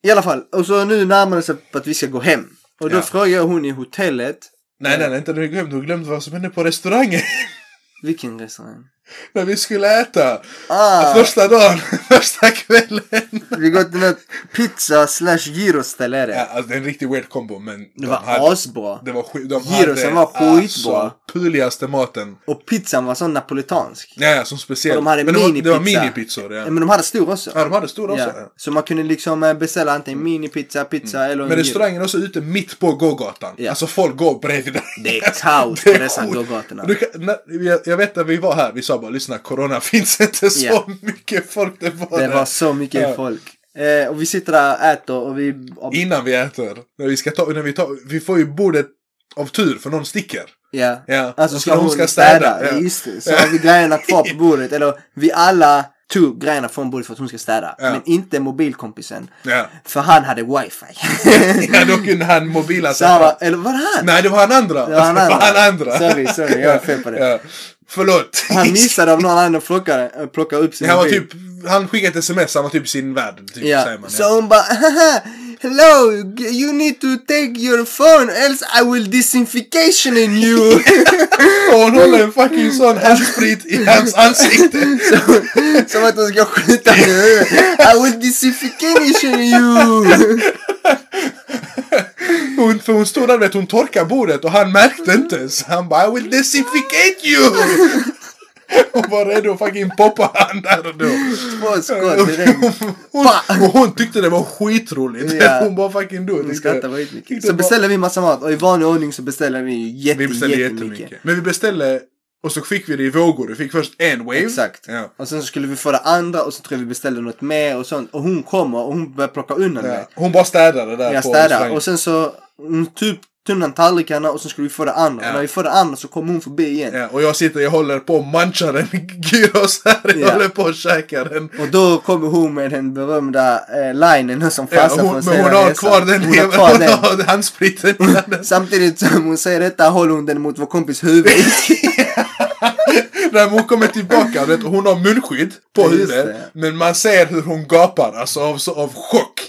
Speaker 2: I alla fall, och så nu närmar det sig att vi ska gå hem. Och då
Speaker 3: Ja.
Speaker 2: frågar jag hon i hotellet.
Speaker 3: Nej, nej, nej, inte när du glömde. Du glömde vad som hände på restaurangen. [LAUGHS]
Speaker 2: Vilken restaurang?
Speaker 3: när vi skulle äta.
Speaker 2: Ah,
Speaker 3: Första dagen, [LAUGHS] första kvällen.
Speaker 2: vi går till något pizza slash gyroställe är det.
Speaker 3: Ja, alltså, det är en riktigt weird kombo, men... de
Speaker 2: Det var
Speaker 3: hade-
Speaker 2: asbra.
Speaker 3: det var skit, de
Speaker 2: Gyrosen
Speaker 3: hade
Speaker 2: var skitbra.
Speaker 3: Alltså, puligaste maten.
Speaker 2: Och pizzan var sån napolitansk.
Speaker 3: Ja, ja, som speciell.
Speaker 2: Och de hade
Speaker 3: men det var, det var
Speaker 2: minipizza.
Speaker 3: minipizzor.
Speaker 2: Ja,
Speaker 3: Ja.
Speaker 2: Men de hade stor också.
Speaker 3: ja, de hade stora
Speaker 2: Ja.
Speaker 3: också. Ja. Mm.
Speaker 2: Så man kunde liksom eh, beställa antingen minipizza, pizza eller en
Speaker 3: Men
Speaker 2: gyro.
Speaker 3: restaurangen är också ute mitt på gågatan.
Speaker 2: Ja.
Speaker 3: Alltså folk går bredvid den.
Speaker 2: Det är kaos på
Speaker 3: [LAUGHS] Det är
Speaker 2: dessa
Speaker 3: sjukt.
Speaker 2: gågatorna.
Speaker 3: Du kan, när, jag, jag vet när vi var här, vi sa bara lyssna, corona [LAUGHS] finns inte så
Speaker 2: Ja.
Speaker 3: mycket folk det var,
Speaker 2: Det
Speaker 3: där.
Speaker 2: var så mycket
Speaker 3: Ja.
Speaker 2: folk. Eh, och vi sitter där och äter och vi... Och,
Speaker 3: Innan vi äter, när vi ska ta, när vi tar, vi får ju bordet av tur för någon sticker.
Speaker 2: ja.
Speaker 3: Ja.
Speaker 2: Alltså
Speaker 3: Och
Speaker 2: ska
Speaker 3: när
Speaker 2: hon, ska städa.
Speaker 3: ja.
Speaker 2: Just det. Så har vi grejerna kvar
Speaker 3: [LAUGHS]
Speaker 2: på bordet. Eller vi alla tog grejerna från bordet för att hon ska städa.
Speaker 3: Ja.
Speaker 2: Men inte mobilkompisen. [LAUGHS]
Speaker 3: Ja.
Speaker 2: För han hade wifi.
Speaker 3: [LAUGHS] ja, då kunde han mobila
Speaker 2: så han var, eller var det han?
Speaker 3: Nej, det var han andra.
Speaker 2: Det var han
Speaker 3: Alltså,
Speaker 2: andra.
Speaker 3: han andra.
Speaker 2: Sorry, sorry, jag är fel på det.
Speaker 3: Ja. Förlåt.
Speaker 2: Han missade av någon annan plockade, plockade upp sin
Speaker 3: Han var
Speaker 2: mobil.
Speaker 3: typ, han skickade ett sms, han var typ i sin värld. Typ,
Speaker 2: Ja,
Speaker 3: säger man,
Speaker 2: så hon bara "Haha, Hello, g- you need to take your phone else I will disinfection in you. [LAUGHS]
Speaker 3: Och hon håller en fucking sån handsprit i hans ansikte.
Speaker 2: Som att hon ska skjuta mig i huvudet. I will disinfection in you. [LAUGHS]
Speaker 3: Hon, för hon stod där vet hon torkade bordet och han märkte inte. Så han bara I will disinficate you! Hon var redo att fucking poppa han där och då.
Speaker 2: Två skott direkt.
Speaker 3: Hon,
Speaker 2: Pa!
Speaker 3: och hon tyckte det var skitroligt.
Speaker 2: Ja.
Speaker 3: Hon bara fucking dog.
Speaker 2: Hon
Speaker 3: Tyckte-
Speaker 2: skrattar skitmycket.
Speaker 3: tyckte
Speaker 2: Så
Speaker 3: det var-
Speaker 2: beställer vi massa mat och i vanlig ordning så beställer vi ju jätte,
Speaker 3: Vi beställde
Speaker 2: jättemycket.
Speaker 3: jättemycket. Men vi beställde och så fick vi det i vågor. Vi fick först en wave.
Speaker 2: Exakt.
Speaker 3: Ja.
Speaker 2: Och sen så skulle vi få det andra och så tror jag vi beställde något mer och sånt. Och hon kommer och hon börjar plocka undan det.
Speaker 3: Ja. Hon bara städade där
Speaker 2: Jag
Speaker 3: på
Speaker 2: städar.
Speaker 3: restaurangen.
Speaker 2: Och sen så, mm, typ tunnan tallrikarna och sen skulle vi få det andra.
Speaker 3: Ja.
Speaker 2: När vi får det andra så kommer hon förbi igen.
Speaker 3: Ja, Eh, och jag sitter jag håller på och manchar en gyros här. Jag
Speaker 2: Ja.
Speaker 3: håller på och käkar den.
Speaker 2: Och då kommer hon med den berömda eh, linen [LAUGHS] som
Speaker 3: Ja,
Speaker 2: fastnar
Speaker 3: hon,
Speaker 2: från
Speaker 3: men hon
Speaker 2: senare
Speaker 3: har
Speaker 2: resan.
Speaker 3: kvar den.
Speaker 2: Hon har kvar den.
Speaker 3: [LAUGHS] Hon har handspriten i handen.
Speaker 2: Samtidigt som hon säger detta håller hon den mot vår kompis
Speaker 3: [LAUGHS]
Speaker 2: huvud.
Speaker 3: När hon kommer tillbaka, vet, du, hon har munskydd på
Speaker 2: Just
Speaker 3: huvudet.
Speaker 2: det.
Speaker 3: Men man ser hur hon gapar, alltså av, så- av chock.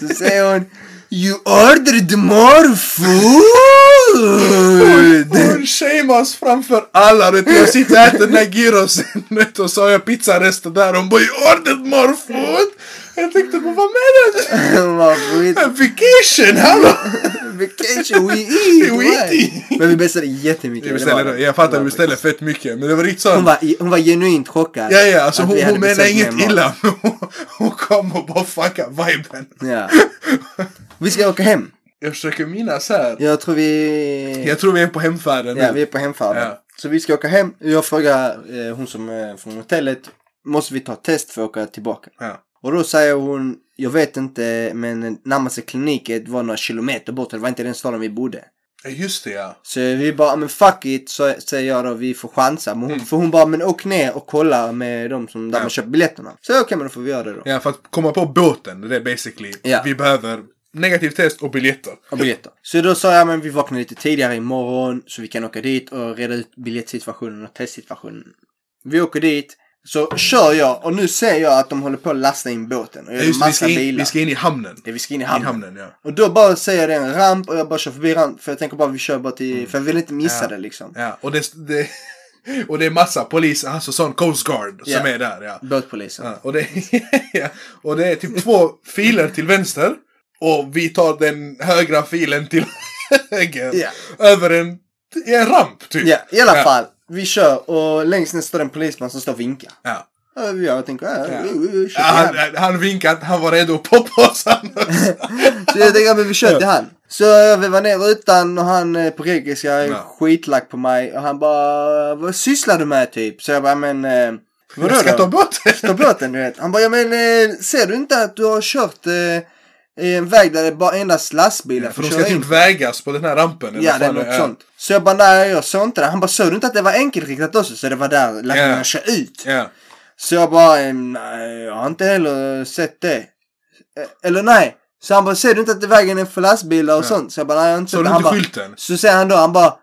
Speaker 2: Så säger hon You ordered more [LAUGHS] food!
Speaker 3: Hon shamas framför alla. Vet, du. jag sitter och äter den här gyrosen [LAUGHS] vet, du, och så har jag pizzarester där. Hon bara "You ordered more food. Jag tänkte, men vad menar du?
Speaker 2: [LAUGHS] Vad skit.
Speaker 3: Vacation, hallå!
Speaker 2: Vacation we eat!
Speaker 3: [LAUGHS] We
Speaker 2: why?
Speaker 3: eat.
Speaker 2: Men vi beställde jättemycket.
Speaker 3: Vi
Speaker 2: det var
Speaker 3: beställer,
Speaker 2: det.
Speaker 3: jag
Speaker 2: Det
Speaker 3: fattar,
Speaker 2: var
Speaker 3: vi beställer
Speaker 2: faktiskt-
Speaker 3: fett mycket. Men det var riktigt
Speaker 2: Hon
Speaker 3: sånt.
Speaker 2: var, hon var genuint chockad.
Speaker 3: Ja, ja, alltså
Speaker 2: att
Speaker 3: hon,
Speaker 2: vi hade
Speaker 3: hon menar
Speaker 2: beställt mer
Speaker 3: inget
Speaker 2: mat.
Speaker 3: illa. [LAUGHS] men hon- Hon kom och bara fuckade viben.
Speaker 2: Ja.
Speaker 3: [LAUGHS]
Speaker 2: Vi ska åka hem.
Speaker 3: Jag försöker minnas här.
Speaker 2: Jag tror vi...
Speaker 3: Jag tror vi är på hemfärden
Speaker 2: Ja,
Speaker 3: nu.
Speaker 2: vi är på hemfärden.
Speaker 3: Ja.
Speaker 2: Så vi ska åka hem. Jag frågar eh, hon som är från hotellet. Måste vi ta test för att åka tillbaka?
Speaker 3: Ja.
Speaker 2: Och då säger hon, jag vet inte, men närmaste kliniken var några kilometer bort. Det var inte i den staden vi bodde.
Speaker 3: Ja, Just det ja.
Speaker 2: Så vi bara, men fuck it, så säger jag då, vi får chansa. Men hon, För hon bara, men åk ner och kolla med de som, där
Speaker 3: Mm. Ja.
Speaker 2: man köper biljetterna. Så okej, men då får vi göra det då.
Speaker 3: Ja, för att komma på båten, det är basically.
Speaker 2: Ja.
Speaker 3: Vi behöver negativ test och biljetter.
Speaker 2: Och biljetter. Så då sa jag, men vi vaknar lite tidigare imorgon så vi kan åka dit och reda ut biljettsituationen och testsituationen. Vi åker dit, så kör jag och nu ser jag att de håller på att lasta in båten. Och
Speaker 3: Ja,
Speaker 2: gör
Speaker 3: just det, vi,
Speaker 2: massa
Speaker 3: ska in,
Speaker 2: bilar.
Speaker 3: vi ska in i hamnen.
Speaker 2: Ja, vi ska in i
Speaker 3: I
Speaker 2: hamnen.
Speaker 3: hamnen ja.
Speaker 2: Och då bara säger jag det är en ramp och jag bara kör förbi ramp. För jag tänker bara vi kör bara till, för jag vill inte missa
Speaker 3: Mm. Ja.
Speaker 2: det liksom.
Speaker 3: ja. Och, det, det, [LAUGHS] och det är massa polis, alltså sån Coast Guard
Speaker 2: Ja.
Speaker 3: som är där. Ja.
Speaker 2: Båtpolisen.
Speaker 3: Ja, och, det, [LAUGHS] ja, och det är typ två filer till vänster. Och vi tar den högra filen till [LAUGHS] höger.
Speaker 2: Ja.
Speaker 3: Över en, i en ramp typ.
Speaker 2: Ja, i alla
Speaker 3: Ja.
Speaker 2: fall. Vi kör och längst ner står det en polisman som står och vinkar.
Speaker 3: Ja.
Speaker 2: Och jag tänker, äh,
Speaker 3: Ja.
Speaker 2: vi- vi- vi kör
Speaker 3: Ja,
Speaker 2: till han.
Speaker 3: han, han vinkade att han var redo att poppa oss annars.
Speaker 2: Så jag tänker, men vi kör till han. Så jag vevar ner rutan och han eh, på grekiska är
Speaker 3: Ja.
Speaker 2: skitlack på mig. Och han bara, vad sysslar du med typ? Så jag bara, men eh, [LAUGHS] vadå
Speaker 3: Jag ska ta
Speaker 2: då?
Speaker 3: bort
Speaker 2: Ta båten du vet. Han bara, ja men eh, ser du inte att du har kört eh, i en väg där det bara endast lastbilar
Speaker 3: För
Speaker 2: får
Speaker 3: de ska
Speaker 2: köra in?
Speaker 3: typ vägas på den här rampen. eller
Speaker 2: Ja,
Speaker 3: vad
Speaker 2: det är
Speaker 3: fan
Speaker 2: något
Speaker 3: är.
Speaker 2: sånt. Så jag bara, nej jag såg inte det. Han bara, såg du inte att det var enkelriktat också? Så det var där lastbilarna
Speaker 3: Ja.
Speaker 2: kör ut.
Speaker 3: Ja.
Speaker 2: Så jag bara, eh, nej, jag har inte heller sett det. Eh, Eller nej. Så han bara, ser du inte att vägen är för lastbilar och
Speaker 3: Ja.
Speaker 2: sånt? Så jag bara, nej jag har inte
Speaker 3: Så
Speaker 2: sett
Speaker 3: du
Speaker 2: det.
Speaker 3: inte
Speaker 2: Han bara,
Speaker 3: skylten?
Speaker 2: så säger han då, han bara,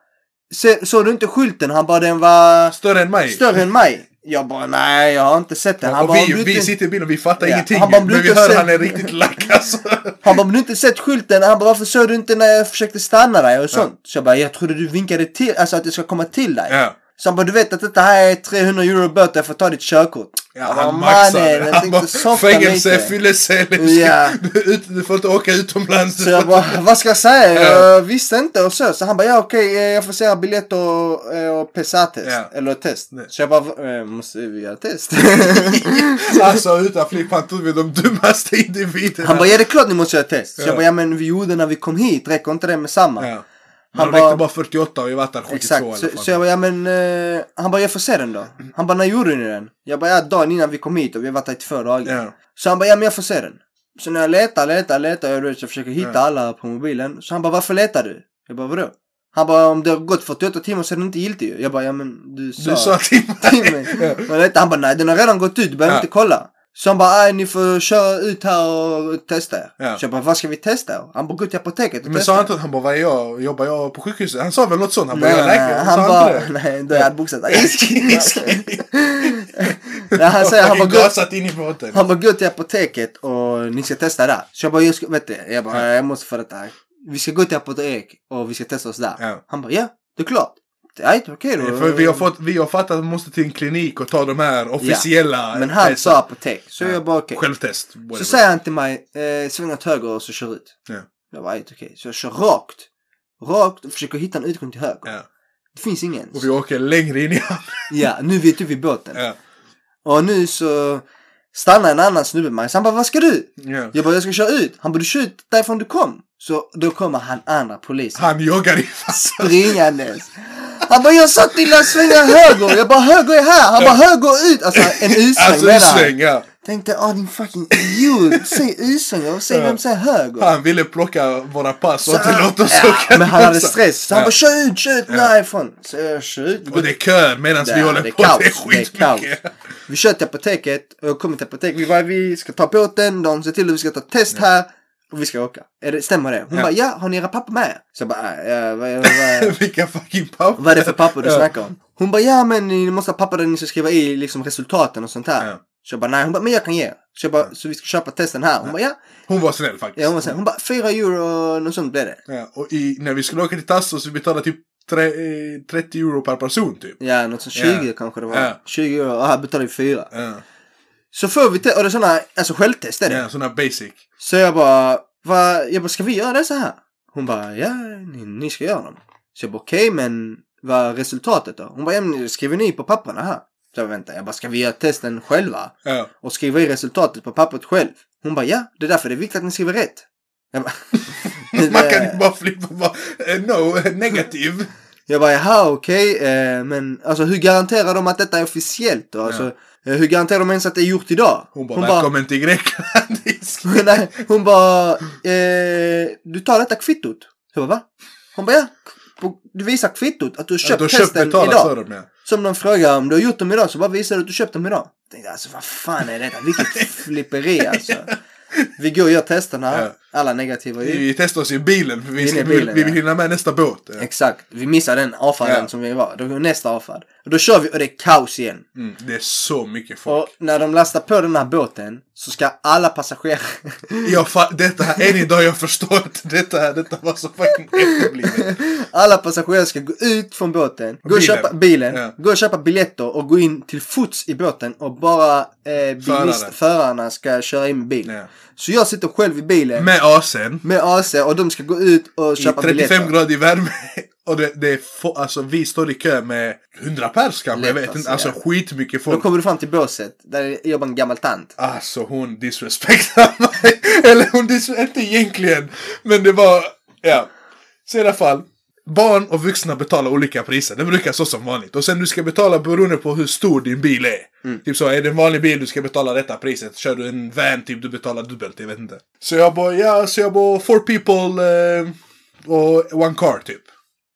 Speaker 2: "Se- såg du inte skylten? Han bara, den var
Speaker 3: Större än mig?
Speaker 2: större än mig. Jag bara, nej jag har inte sett den. Han
Speaker 3: och
Speaker 2: bara, "Om
Speaker 3: vi,
Speaker 2: du
Speaker 3: vi
Speaker 2: inte-
Speaker 3: sitter i bilen och vi fattar
Speaker 2: Ja,
Speaker 3: ingenting.
Speaker 2: han bara,
Speaker 3: men
Speaker 2: "Blir
Speaker 3: vi
Speaker 2: inte
Speaker 3: hör
Speaker 2: sedd."
Speaker 3: han är riktigt lack alltså.
Speaker 2: [LAUGHS] han bara, om du inte sett skylten? Han bara, varför såg du inte när jag försökte stanna dig och sånt? Så jag bara, jag trodde du vinkade till, alltså att jag ska komma till dig.
Speaker 3: ja.
Speaker 2: Så han bara, du vet att detta här är 300 euro böter för att ta ditt körkort.
Speaker 3: Ja,
Speaker 2: Jag
Speaker 3: han
Speaker 2: bara,
Speaker 3: maxade.
Speaker 2: mannen, jag
Speaker 3: Han
Speaker 2: tänkte
Speaker 3: bara,
Speaker 2: softa
Speaker 3: fängelse,
Speaker 2: lite.
Speaker 3: fyllecell. Du,
Speaker 2: Ja.
Speaker 3: ska- du, ut- du får inte åka utomlands.
Speaker 2: Så
Speaker 3: Du
Speaker 2: jag
Speaker 3: [LAUGHS] får,
Speaker 2: bara, [LAUGHS] vad ska jag säga? Jag visste inte och så. Så han bara, ja okej, eh, jag får säga biljett och, eh, och PSA-test.
Speaker 3: Ja.
Speaker 2: Eller test.
Speaker 3: Nej.
Speaker 2: Så jag bara, eh, måste vi göra test? [LAUGHS]
Speaker 3: alltså utan flygplan tror vi de dummaste individerna.
Speaker 2: han bara, ja det är klart ni måste göra test. Så
Speaker 3: Ja.
Speaker 2: jag bara, ja men vi gjorde när vi kom hit, räcker inte det med samma?
Speaker 3: Ja. Men
Speaker 2: Han
Speaker 3: de räckte
Speaker 2: bara-
Speaker 3: bara 48 och vi vart där 72
Speaker 2: Exakt, så,
Speaker 3: i alla fall.
Speaker 2: så jag bara, ja men... eh, han bara, jag får se den då. Han bara, när gjorde ni den? Jag bara, ja dagen innan vi kom hit och vi har varit här i två dagar.
Speaker 3: Ja.
Speaker 2: Så han bara, ja men jag får se den. Så när jag letar, letar, letar, jag, vet, jag försöker hitta
Speaker 3: Ja.
Speaker 2: alla på mobilen. Så han bara, varför letar du? Jag bara, vadå? Han bara, om det har gått 48 timmar så är den inte giltig ju. Jag bara, ja men du sa... [LAUGHS]
Speaker 3: Du sa till
Speaker 2: till
Speaker 3: mig.
Speaker 2: mig. Och jag letar, han bara, nej den har redan gått ut, du behöver
Speaker 3: Ja.
Speaker 2: inte kolla. Så han bara, nej ni får köra ut här och testa er.
Speaker 3: Ja.
Speaker 2: Så jag bara, vad ska vi testa? då?" Han bara, gå till apoteket och
Speaker 3: Men
Speaker 2: testa
Speaker 3: sa han
Speaker 2: er."
Speaker 3: inte att han bara, vad är jag? Jobbar jag på sjukhuset? Han sa väl något sånt? Han bara,
Speaker 2: Nej,
Speaker 3: jag
Speaker 2: nej,
Speaker 3: är läkare.
Speaker 2: nej,
Speaker 3: Sa
Speaker 2: han
Speaker 3: inte
Speaker 2: bara,
Speaker 3: det?
Speaker 2: nej, då är jag
Speaker 3: [LAUGHS]
Speaker 2: hade Nej, [LAUGHS]
Speaker 3: Han
Speaker 2: han säger, han bara, gå,
Speaker 3: gasat in i båten.
Speaker 2: han bara, gå till apoteket och ni ska testa där. Så jag bara, jag ska, vet du, jag bara, jag måste få detta här. Vi ska gå till apoteket och vi ska testa oss där.
Speaker 3: Ja.
Speaker 2: Han bara, ja, det är klart. Nej, okej då.
Speaker 3: För vi har, fått, vi har fattat att man måste till en klinik och ta de här officiella
Speaker 2: Men han
Speaker 3: testen.
Speaker 2: sa apotek, så jag bara, okej.
Speaker 3: Självtest. whatever.
Speaker 2: Så säger han till mig, eh, sväng åt höger och så kör ut.
Speaker 3: Ja.
Speaker 2: Jag bara, "Right, okej. Så jag kör rakt. Rakt och försöker hitta en utgång till höger.
Speaker 3: Ja.
Speaker 2: Det finns ingen.
Speaker 3: Och vi åker längre in i hamnen.
Speaker 2: Ja, nu vet du vid båten.
Speaker 3: Ja.
Speaker 2: Och nu så stannar en annan snubbe med mig. Så han bara, vad ska du?
Speaker 3: Ja.
Speaker 2: Jag bara, jag ska köra ut. Han bara, du kör ut därifrån du kom. Så då kommer han andra polisen.
Speaker 3: Han joggar i fast.
Speaker 2: [LAUGHS] Springandes. Han bara, jag
Speaker 3: [LAUGHS]
Speaker 2: sa till att svänga höger. Jag bara, höger är här. Han bara, höger ut. Alltså en U-sväng
Speaker 3: Alltså
Speaker 2: menar han.
Speaker 3: utsväng, ja.
Speaker 2: Tänkte, ah din fucking idiot. Säg U-sångare, säg vem säger höger?
Speaker 3: Han ville plocka våra pass och
Speaker 2: Så
Speaker 3: inte
Speaker 2: han-
Speaker 3: låta oss
Speaker 2: ja,
Speaker 3: åka.
Speaker 2: Men han hade
Speaker 3: Så-
Speaker 2: stress. Så han
Speaker 3: Ja.
Speaker 2: bara kör ut, kör ut därifrån. Så jag kör ut.
Speaker 3: [LAUGHS] Och det är kö medan
Speaker 2: Där,
Speaker 3: vi håller
Speaker 2: det är
Speaker 3: på.
Speaker 2: kaos.
Speaker 3: Det är
Speaker 2: Det är kaos.
Speaker 3: skitmycket.
Speaker 2: Vi kör till apoteket. Och jag kommer till apoteket. Vi bara, vi ska ta båten. De ser till att vi ska ta ett test här. Och vi ska åka. Är det, stämmer det? Hon
Speaker 3: Ja.
Speaker 2: bara, ja, har ni era papper med? Så jag bara, äh, ja, vad, vad,
Speaker 3: [LAUGHS] Vilka fucking papper.
Speaker 2: vad är det för papper du
Speaker 3: Ja.
Speaker 2: snackar om? Hon bara, ja men ni måste ha papper där ni ska skriva i liksom resultaten och sånt här.
Speaker 3: Ja.
Speaker 2: Så jag bara, nej. Hon bara, men jag kan ge. er. Så jag bara, så vi ska köpa testen här. Hon bara, ja.
Speaker 3: Hon var snäll faktiskt.
Speaker 2: ja hon, bara, så här, hon bara, fyra euro och något sånt blev det.
Speaker 3: Ja, och i, när vi skulle åka till Tasso så vi betalade typ tre, eh, 30 euro per person typ.
Speaker 2: Ja, något sånt. 20
Speaker 3: Ja.
Speaker 2: kanske det var.
Speaker 3: Ja.
Speaker 2: 20 euro. Och här betalade vi fyra.
Speaker 3: Ja,
Speaker 2: Så får vi te- och det är sådana, alltså självtest är det.
Speaker 3: ja sådana basic.
Speaker 2: Så jag bara, va? Jag bara, ska vi göra det så här? Hon bara, ja, ni, ni ska göra dem. Så jag bara, okej, men vad är resultatet då? Hon bara, ja, men skriver ni på papperna här? Så jag bara, vänta, jag bara, ska vi göra testen själva?
Speaker 3: Ja.
Speaker 2: Och skriva i resultatet på pappret själv? Hon bara, ja, det är därför det är viktigt att ni skriver rätt. Jag bara, Det
Speaker 3: Man kan
Speaker 2: där-
Speaker 3: ju bara flippa bara, eh, no, eh, negativ.
Speaker 2: Jag bara, jaha okej, eh, men alltså hur garanterar de att detta är officiellt då? Alltså, eh, hur garanterar de ens att det är gjort idag?
Speaker 3: Hon bara, välkommen till Grekland.
Speaker 2: [LAUGHS] Nej, hon bara, eh, du tar detta kvittot. Jag bara, va? Hon bara, ja. På- Du visar kvittot att du har köpt
Speaker 3: du har köpt
Speaker 2: testen
Speaker 3: betalat för
Speaker 2: idag.
Speaker 3: dem ja.
Speaker 2: Som de frågar om du har gjort dem idag så bara visar du att du köpt dem idag. Jag tänkte, alltså vad fan är detta? Vilket
Speaker 3: [LAUGHS]
Speaker 2: flipperi alltså. Vi går och gör testerna.
Speaker 3: Ja.
Speaker 2: Alla negativa ju.
Speaker 3: Vi testar oss i bilen för vi,
Speaker 2: In
Speaker 3: ska,
Speaker 2: i bilen,
Speaker 3: vi, vi
Speaker 2: ja.
Speaker 3: vill hinna med nästa båt. Ja.
Speaker 2: Exakt. Vi missar den avfärden
Speaker 3: Ja.
Speaker 2: som vi var. Då går nästa avfärd. Och då kör vi och det är kaos igen.
Speaker 3: Mm, det är så mycket folk.
Speaker 2: Och när de lastar på den här båten så ska alla passagerare
Speaker 3: Jag fa- detta här, än idag jag förstår inte detta här. Detta var så fucking efterblivet.
Speaker 2: Alla passagerare ska gå ut från båten, gå och
Speaker 3: Bilen.
Speaker 2: köpa bilen,
Speaker 3: Ja.
Speaker 2: gå och köpa biljetter och gå in till fots i båten och bara eh, bilist,
Speaker 3: Föraren.
Speaker 2: förarna ska köra in med bil.
Speaker 3: Ja.
Speaker 2: Så jag sitter själv i bilen
Speaker 3: Med AC'n.
Speaker 2: med AC och de ska gå ut och
Speaker 3: I
Speaker 2: köpa
Speaker 3: 35
Speaker 2: biljetter.
Speaker 3: grader värme. Och det, det är få, alltså vi står i kö med 100 pers kanske. Jag
Speaker 2: Lätt,
Speaker 3: vet inte.
Speaker 2: alltså,
Speaker 3: Alltså
Speaker 2: ja.
Speaker 3: skitmycket
Speaker 2: Då
Speaker 3: folk.
Speaker 2: kommer du fram till båset, där jobbar en gammal tant.
Speaker 3: Alltså hon disrespektar [LAUGHS] mig. Eller hon disrespektar, inte egentligen. Men det var, ja. Så i alla fall. Barn och vuxna betalar olika priser. Det brukar så som vanligt. Och sen du ska betala beroende på hur stor din bil är. Typ så, är det en vanlig bil du ska betala detta priset. Kör du en van typ, du betalar dubbelt. Jag vet inte. Så jag bara, ja, så jag bara, four people eh, och one car typ.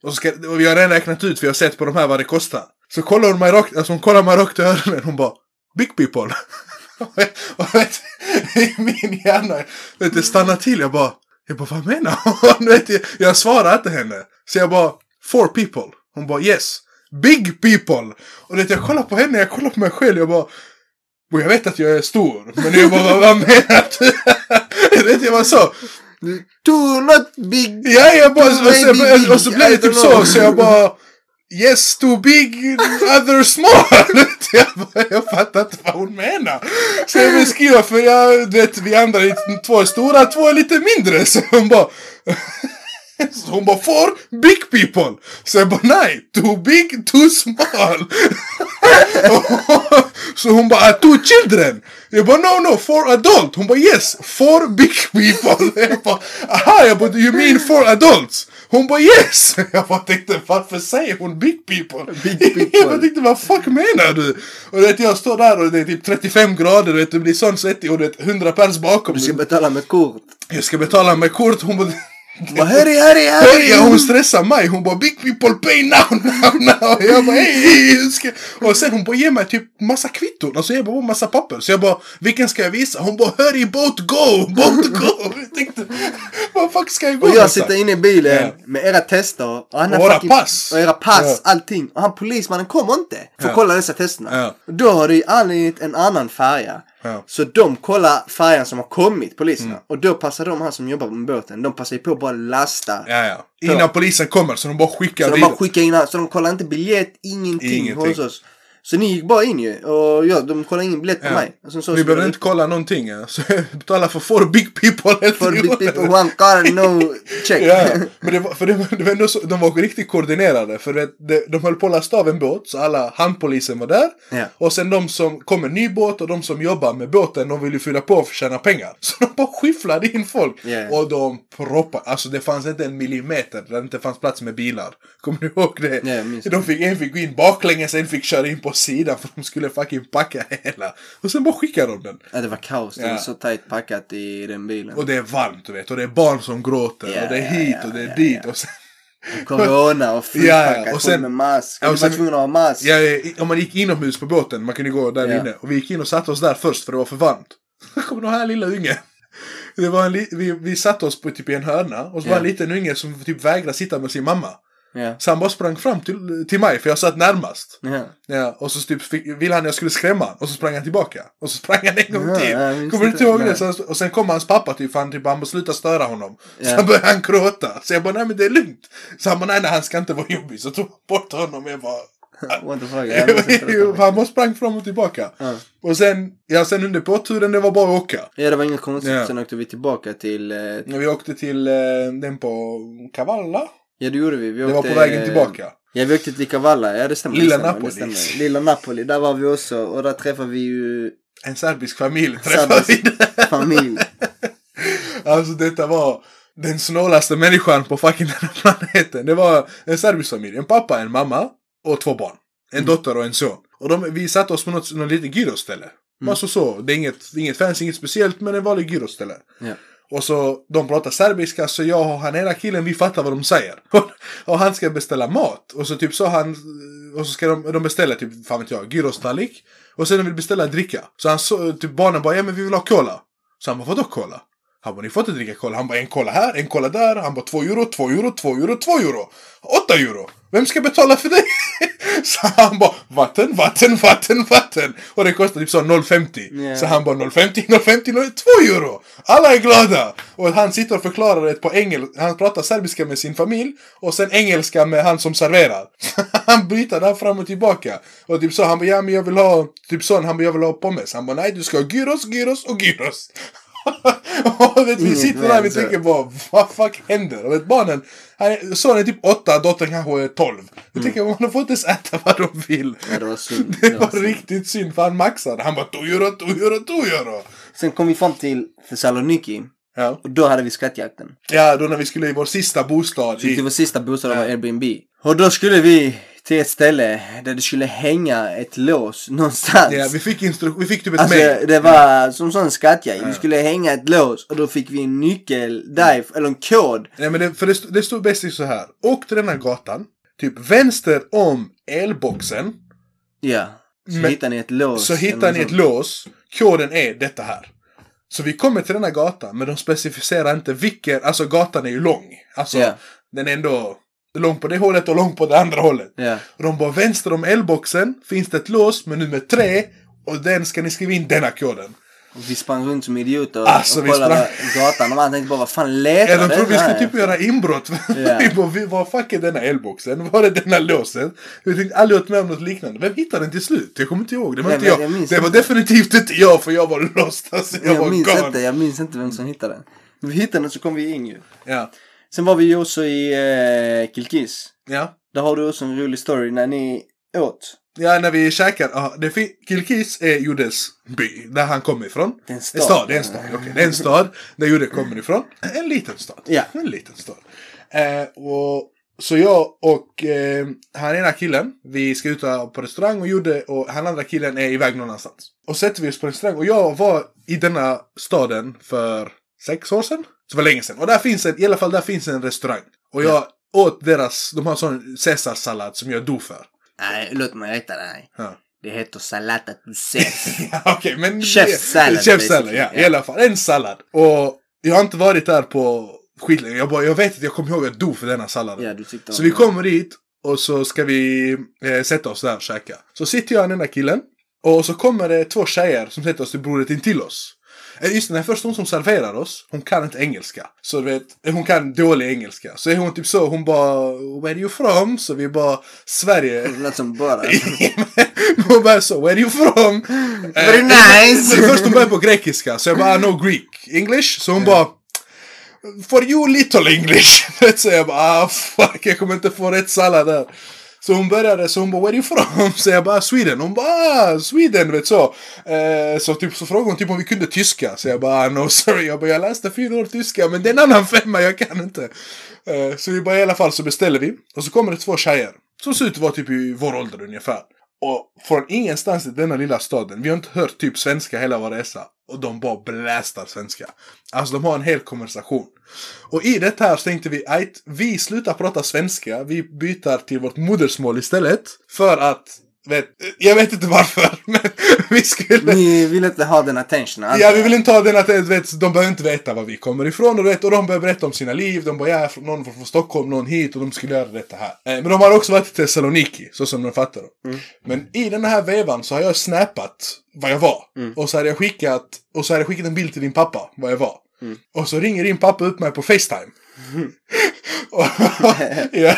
Speaker 3: Och, så ska, och jag har redan räknat ut, för jag har sett på de här vad det kostar. Så kollar hon mig rakt, alltså hon kollar mig rakt i öronen. Hon bara, big people. [LAUGHS] och vet, i [LAUGHS] min hjärna, vet du, stannar till. Jag bara, jag bara, vad menar hon? [LAUGHS] Vet, jag, jag svarar inte henne. Så jag bara, four people. Hon bara, yes. Big people! Och vet, jag kollar på henne, jag kollar på mig själv, jag bara och jag vet att jag är stor, men jag bara, vad, vad menar du? [LAUGHS] Jag vet jag var så.
Speaker 2: Do not big...
Speaker 3: Ja, jag bara, och så,
Speaker 2: Baby
Speaker 3: och så, och så
Speaker 2: big,
Speaker 3: blev
Speaker 2: I
Speaker 3: det typ
Speaker 2: don't know.
Speaker 3: så, så jag bara... Yes, too big, other small! [LAUGHS] jag, bara, jag fattar inte vad hon menar. Så jag beskriver, för jag, du vet, vi andra är två är stora, två är lite mindre. Så hon bara... [LAUGHS] så hon bara, for big people! Så jag bara, nej, too big, too small! [LAUGHS] så hon bara, two children! Jag bara, no, no, for adult! Hon bara, yes, for big people! [LAUGHS] Jag bara, aha, jag bara, do you mean for adults? Hon bara, yes! [LAUGHS] Jag bara tänkte, varför säger hon big people?
Speaker 2: Big people.
Speaker 3: [LAUGHS] Jag bara tänkte, vad fuck menar du? Och du vet, jag står där och det är typ 35 grader, du vet, det blir sån svettig och det är 100 pers bakom.
Speaker 2: Du ska betala med
Speaker 3: [LAUGHS]
Speaker 2: kort.
Speaker 3: Jag ska betala med kort, hon bara,
Speaker 2: Hon bara, hurry, hurry, hurry!
Speaker 3: Hörja, hon stressar mig. Hon bara big people pay now, now, now. Jag bara hej, hej. hur ska-" Och sen hon bara ger mig typ massa kvitton. Alltså jag bara "Åh, massa papper. Så jag bara vilken ska jag visa? Hon bara hurry boat go, boat go. Jag tänkte vad fuck ska jag gå
Speaker 2: Och jag
Speaker 3: någonstans?
Speaker 2: sitter inne i bilen
Speaker 3: Ja.
Speaker 2: med era tester. Och, han har
Speaker 3: Och våra pass.
Speaker 2: Och era pass,
Speaker 3: Ja.
Speaker 2: allting. Och han polismannen kommer inte för att
Speaker 3: Ja.
Speaker 2: kolla dessa testerna.
Speaker 3: Ja.
Speaker 2: Och Då har det ju anledning en annan färja.
Speaker 3: Ja. Mm.
Speaker 2: Så de kollar färjan som har kommit, poliserna. Och då passar de här som jobbar med båten, de passar ju på att bara lasta.
Speaker 3: Ja, ja. Innan polisen kommer så de bara skickar
Speaker 2: Så de bara
Speaker 3: vidare.
Speaker 2: skickar in allt. Så de kollar inte biljett, ingenting,
Speaker 3: Ingenting.
Speaker 2: hos oss. Så ni gick bara in ju. Och ja, de kollar ingen biljett på
Speaker 3: Ja.
Speaker 2: mig. Och sen så
Speaker 3: Vi behöver inte kolla någonting. Ja. Så jag betalar för four big people.
Speaker 2: For big people, one car, no check.
Speaker 3: Ja, men det var, för det var, det var ändå så, de var riktigt koordinerade. För det, det, de höll på att lasta av en båt, så alla handpolisen var där.
Speaker 2: [LAUGHS] Ja.
Speaker 3: Och sen de som kom med ny båt och de som jobbar med båten, de ville ju fylla på för att tjäna pengar. [LAUGHS] Så de bara skyfflade in folk.
Speaker 2: Ja.
Speaker 3: Och de proppade, alltså det fanns inte en millimeter där det inte fanns plats med bilar. Kommer du ihåg det?
Speaker 2: Ja, jag minns
Speaker 3: de fick, en fick gå in baklänges, en fick köra in på åt sidan för de skulle fucking packa hela. Och sen bara skickar de den.
Speaker 2: Ja, det var kaos. Det
Speaker 3: Ja.
Speaker 2: var så tajt packat i den bilen.
Speaker 3: Och det är varmt du vet. Och det är barn som gråter.
Speaker 2: Ja,
Speaker 3: och det är
Speaker 2: ja,
Speaker 3: hit
Speaker 2: ja,
Speaker 3: och det är
Speaker 2: ja,
Speaker 3: dit. Och sen,
Speaker 2: Corona och fullpackat.
Speaker 3: [LAUGHS] Ja, ja, och
Speaker 2: och
Speaker 3: sen-
Speaker 2: med mask.
Speaker 3: Ja, och
Speaker 2: du var
Speaker 3: sen-
Speaker 2: tvungen att ha mask.
Speaker 3: ja, i- om man gick inomhus på båten, man kunde gå där
Speaker 2: Ja.
Speaker 3: inne. Och vi gick in och satte oss där först för det var för varmt. [LAUGHS] Kommer du ihåg den här lilla ungen? Det var en li- vi, vi satte oss på typ i en hörna och så var
Speaker 2: Ja.
Speaker 3: en liten unge som typ vägrade sitta med sin mamma.
Speaker 2: Ja.
Speaker 3: Så han bara sprang fram till, till mig för jag satt närmast.
Speaker 2: Ja.
Speaker 3: Ja, och så typ fick, ville han jag skulle skrämma honom, och så sprang han tillbaka. Och så sprang han en gång
Speaker 2: Ja,
Speaker 3: till.
Speaker 2: jag visste
Speaker 3: Kommer du
Speaker 2: inte.
Speaker 3: inte ihåg det?
Speaker 2: Nej.
Speaker 3: Så, och sen kom hans pappa typ, för han typ, han bara sluta störa honom. Så
Speaker 2: Ja.
Speaker 3: han började han gråta. Så jag bara, nej men det är lugnt. Så han bara, nej nej han ska inte vara jobbig. Så tog han bort honom och jag bara...
Speaker 2: What the
Speaker 3: [LAUGHS]
Speaker 2: fuck. Jag måste inte
Speaker 3: Jo,
Speaker 2: berätta.
Speaker 3: han bara sprang fram och tillbaka.
Speaker 2: Ja.
Speaker 3: Och sen, ja sen under båtturen, det var bara att åka.
Speaker 2: Ja, det var inget konstigt.
Speaker 3: Ja.
Speaker 2: Sen åkte vi tillbaka till... eh,
Speaker 3: När vi åkte till eh, den på Kavalla.
Speaker 2: Ja, det gjorde vi. vi
Speaker 3: Det
Speaker 2: åkte,
Speaker 3: var på vägen
Speaker 2: eh,
Speaker 3: tillbaka.
Speaker 2: Ja, vi åkte till Kavalla. Ja, det stämmer.
Speaker 3: Lilla
Speaker 2: det stämmer,
Speaker 3: Napoli.
Speaker 2: Det stämmer. Lilla Napoli. Där var vi också. Och där träffade vi ju
Speaker 3: En serbisk familj [LAUGHS] träffade vi.
Speaker 2: Sabbas
Speaker 3: [LAUGHS]
Speaker 2: familj.
Speaker 3: Alltså detta var den snålaste människan på fucking den här planeten. Det var en serbisk familj. En pappa, en mamma och två barn. En dotter och en son. Och de, vi satte oss på något, något litet gyroställe. Bara så så. Det är inget, inget fancy, inget speciellt, men en vanlig gyroställe.
Speaker 2: Ja.
Speaker 3: Och så de pratar serbiska så jag och han ena killen vi fattar vad de säger. [LAUGHS] Och, och han ska beställa mat. Och så typ så han. Och så ska de, de beställa typ, fan vet jag, gyrostallrik. Och sen de vill beställa dricka. Så han så, typ barnen bara, ja men vi vill ha cola. Så han bara, vadå cola? Han bara, ni får inte dricka cola. Han bara, en cola här, en cola där. Han bara, två euro, två euro, två euro, två euro. Åtta euro. Vem ska betala för det? [LAUGHS] Så han bara, vatten, vatten, vatten, vatten. Och det kostar typ så 0,50.
Speaker 2: Ja.
Speaker 3: Så han bara 0,50, 0,50, 2 euro! Alla är glada! Och han sitter och förklarar det på engelska. Han pratar serbiska med sin familj och sen engelska med han som serverar. [LAUGHS] han byter där fram och tillbaka. Och typ så, han bara ja men jag vill ha, typ så, han bara jag vill ha pommes. Han bara nej du ska ha gyros, gyros och gyros. [LAUGHS] och vet, vi
Speaker 2: Inget
Speaker 3: sitter där och vi
Speaker 2: mer, så.
Speaker 3: tänker bara vad fuck händer? Och vet, barnen, han, sonen är typ 8, dottern kanske är 12. Vi tänker man får inte ens äta vad de vill.
Speaker 2: Ja, det var synd.
Speaker 3: [LAUGHS] Det
Speaker 2: Det var
Speaker 3: var
Speaker 2: synd.
Speaker 3: riktigt synd för han maxade. Han bara 2 euro, 2 euro, 2 euro.
Speaker 2: Sen kom vi fram till Thessaloniki.
Speaker 3: Ja.
Speaker 2: Och då hade vi skrattjakten.
Speaker 3: ja, då när vi skulle i vår sista bostad.
Speaker 2: Typ Det
Speaker 3: I,
Speaker 2: var sista bostaden var
Speaker 3: Ja.
Speaker 2: Airbnb. Och då skulle vi till ett ställe där det skulle hänga ett lås någonstans.
Speaker 3: ja, vi, fick instru- vi fick typ ett
Speaker 2: Alltså
Speaker 3: mail.
Speaker 2: det var som sån skattjakt.
Speaker 3: Ja.
Speaker 2: Vi skulle hänga ett lås och då fick vi en nyckel därif- eller en kod.
Speaker 3: Nej, men det, för det, stod- det stod bäst så här. Åk till den här gatan. Typ vänster om elboxen.
Speaker 2: Ja. Så
Speaker 3: Men-
Speaker 2: hittar ni ett lås.
Speaker 3: Så hittar
Speaker 2: eller
Speaker 3: ni
Speaker 2: något
Speaker 3: ett lås. Koden är detta här. Så vi kommer till den här gatan. Men de specificerar inte vilken. Alltså gatan är ju lång. Alltså
Speaker 2: Ja.
Speaker 3: den är ändå lång på det hållet och lång på det andra hållet.
Speaker 2: sånt. Ja.
Speaker 3: Och de bara vänster om elboxen finns det ett lås med nummer tre. Och den ska ni skriva in denna koden.
Speaker 2: Och vi sprang runt som idioter
Speaker 3: Alltså,
Speaker 2: och
Speaker 3: vi
Speaker 2: kollade
Speaker 3: sprang-
Speaker 2: gatan och man tänkte bara vad fan letar
Speaker 3: Ja, de trodde vi
Speaker 2: här
Speaker 3: skulle typ göra inbrott. [LAUGHS]
Speaker 2: Ja.
Speaker 3: Vi bara, vi bara, fuck är denna elboxen? Var är denna låset? Vi tänkte aldrig varit med om något liknande. Vem hittade den till slut? Jag kommer inte ihåg. Det var,
Speaker 2: Nej,
Speaker 3: inte
Speaker 2: men
Speaker 3: jag.
Speaker 2: jag minns
Speaker 3: det var
Speaker 2: inte.
Speaker 3: definitivt inte jag, för jag var lost. Alltså, jag,
Speaker 2: Jag,
Speaker 3: var
Speaker 2: minns
Speaker 3: gone.
Speaker 2: inte, jag minns inte vem som hittade den. Men vi hittade den så kom vi in ju.
Speaker 3: Ja.
Speaker 2: Sen var vi ju också i eh, Kilkis.
Speaker 3: Ja.
Speaker 2: Där har du också en rolig story när ni åt.
Speaker 3: ja, när vi käkar. Ja, det fin- Kilkis är Judes by, där han kommer ifrån.
Speaker 2: Det är en
Speaker 3: En stad, det är en stad. Okej, det är en stad där Jude kommer ifrån. En liten stad.
Speaker 2: Ja.
Speaker 3: En liten stad. Eh, och, så jag och eh, han ena killen, vi ska ut på restaurang och Jude och han andra killen är iväg någon annanstans. Och sätter vi oss på restaurang och jag var i denna staden för sex år sedan. Så det var länge sedan. Och där finns en, i alla fall där finns en restaurang. Och jag åt deras, de har sån caesarsallad som jag dog för.
Speaker 2: Nej, låt mig rätta dig.
Speaker 3: Ja.
Speaker 2: Det heter salata du [LAUGHS] ses.
Speaker 3: [LAUGHS] Ja, Okej, men...
Speaker 2: Chefsallad,
Speaker 3: Chefsallad,
Speaker 2: basically,
Speaker 3: ja. I
Speaker 2: ja.
Speaker 3: alla fall. En sallad. Och jag har inte varit där på skitlänge. Jag, bara, jag vet att jag kommer ihåg att jag dog för denna salladen.
Speaker 2: ja, du tyckte om
Speaker 3: så vi
Speaker 2: det.
Speaker 3: kommer dit och så ska vi eh, sätta oss där och käka. Så sitter jag och den där killen. Och så kommer det två tjejer som sätter oss till bordet intill oss. Eh, Just den här första hon som serverar oss, hon kan inte engelska. Så du vet, eh, hon kan dålig engelska. Så är hon typ så, hon bara Where are you from? Så vi bara
Speaker 2: [LAUGHS]
Speaker 3: Sverige.
Speaker 2: Det lät som bara...
Speaker 3: hon bara så, [LAUGHS] where are you from?
Speaker 2: Very
Speaker 3: [LAUGHS] Eh,
Speaker 2: nice!
Speaker 3: för Först hon började på grekiska, så jag bara, no Greek English. Så hon bara, for you little English. [LAUGHS] så jag bara, ah, fuck, jag kommer inte få rätt sallad där. Så hon började, så hon bara, where are you from? [LAUGHS] Så jag bara, Sweden. Hon bara, ah, Sweden, vet så. Eh, så typ, så frågade hon typ om vi kunde tyska. Så jag bara, ah, no sorry. Jag bara, jag läste fyra år tyska, men det är en annan [LAUGHS] femma, jag kan inte. Eh, så vi bara, i alla fall så beställer vi. Och så kommer det två tjejer. Som ser ut att vara typ i vår ålder ungefär. Och från ingenstans i denna lilla staden, vi har inte hört typ svenska hela vår resa. Och de bara blästar svenska. Alltså de har en hel konversation. Och i detta här så tänkte vi att vi slutar prata svenska, vi byter till vårt modersmål istället. För att, vet, jag vet inte varför, [LAUGHS] men vi skulle...
Speaker 2: Ni vill inte ha den attention antar
Speaker 3: Ja, vi
Speaker 2: jag.
Speaker 3: vill inte ha den att du vet, de behöver inte veta var vi kommer ifrån. Och, du vet, och de börjar berätta om sina liv. De bara, jag är från, någon var från Stockholm, någon hit och de skulle göra detta här. Eh, Men de har också varit i Thessaloniki, så som de fattar det. Men i den här vevan så har jag snappat vad jag var. Och, så hade jag skickat, och så hade jag skickat en bild till din pappa, vad jag var. Och så ringer din pappa upp mig på Facetime. [LAUGHS] Och- ja.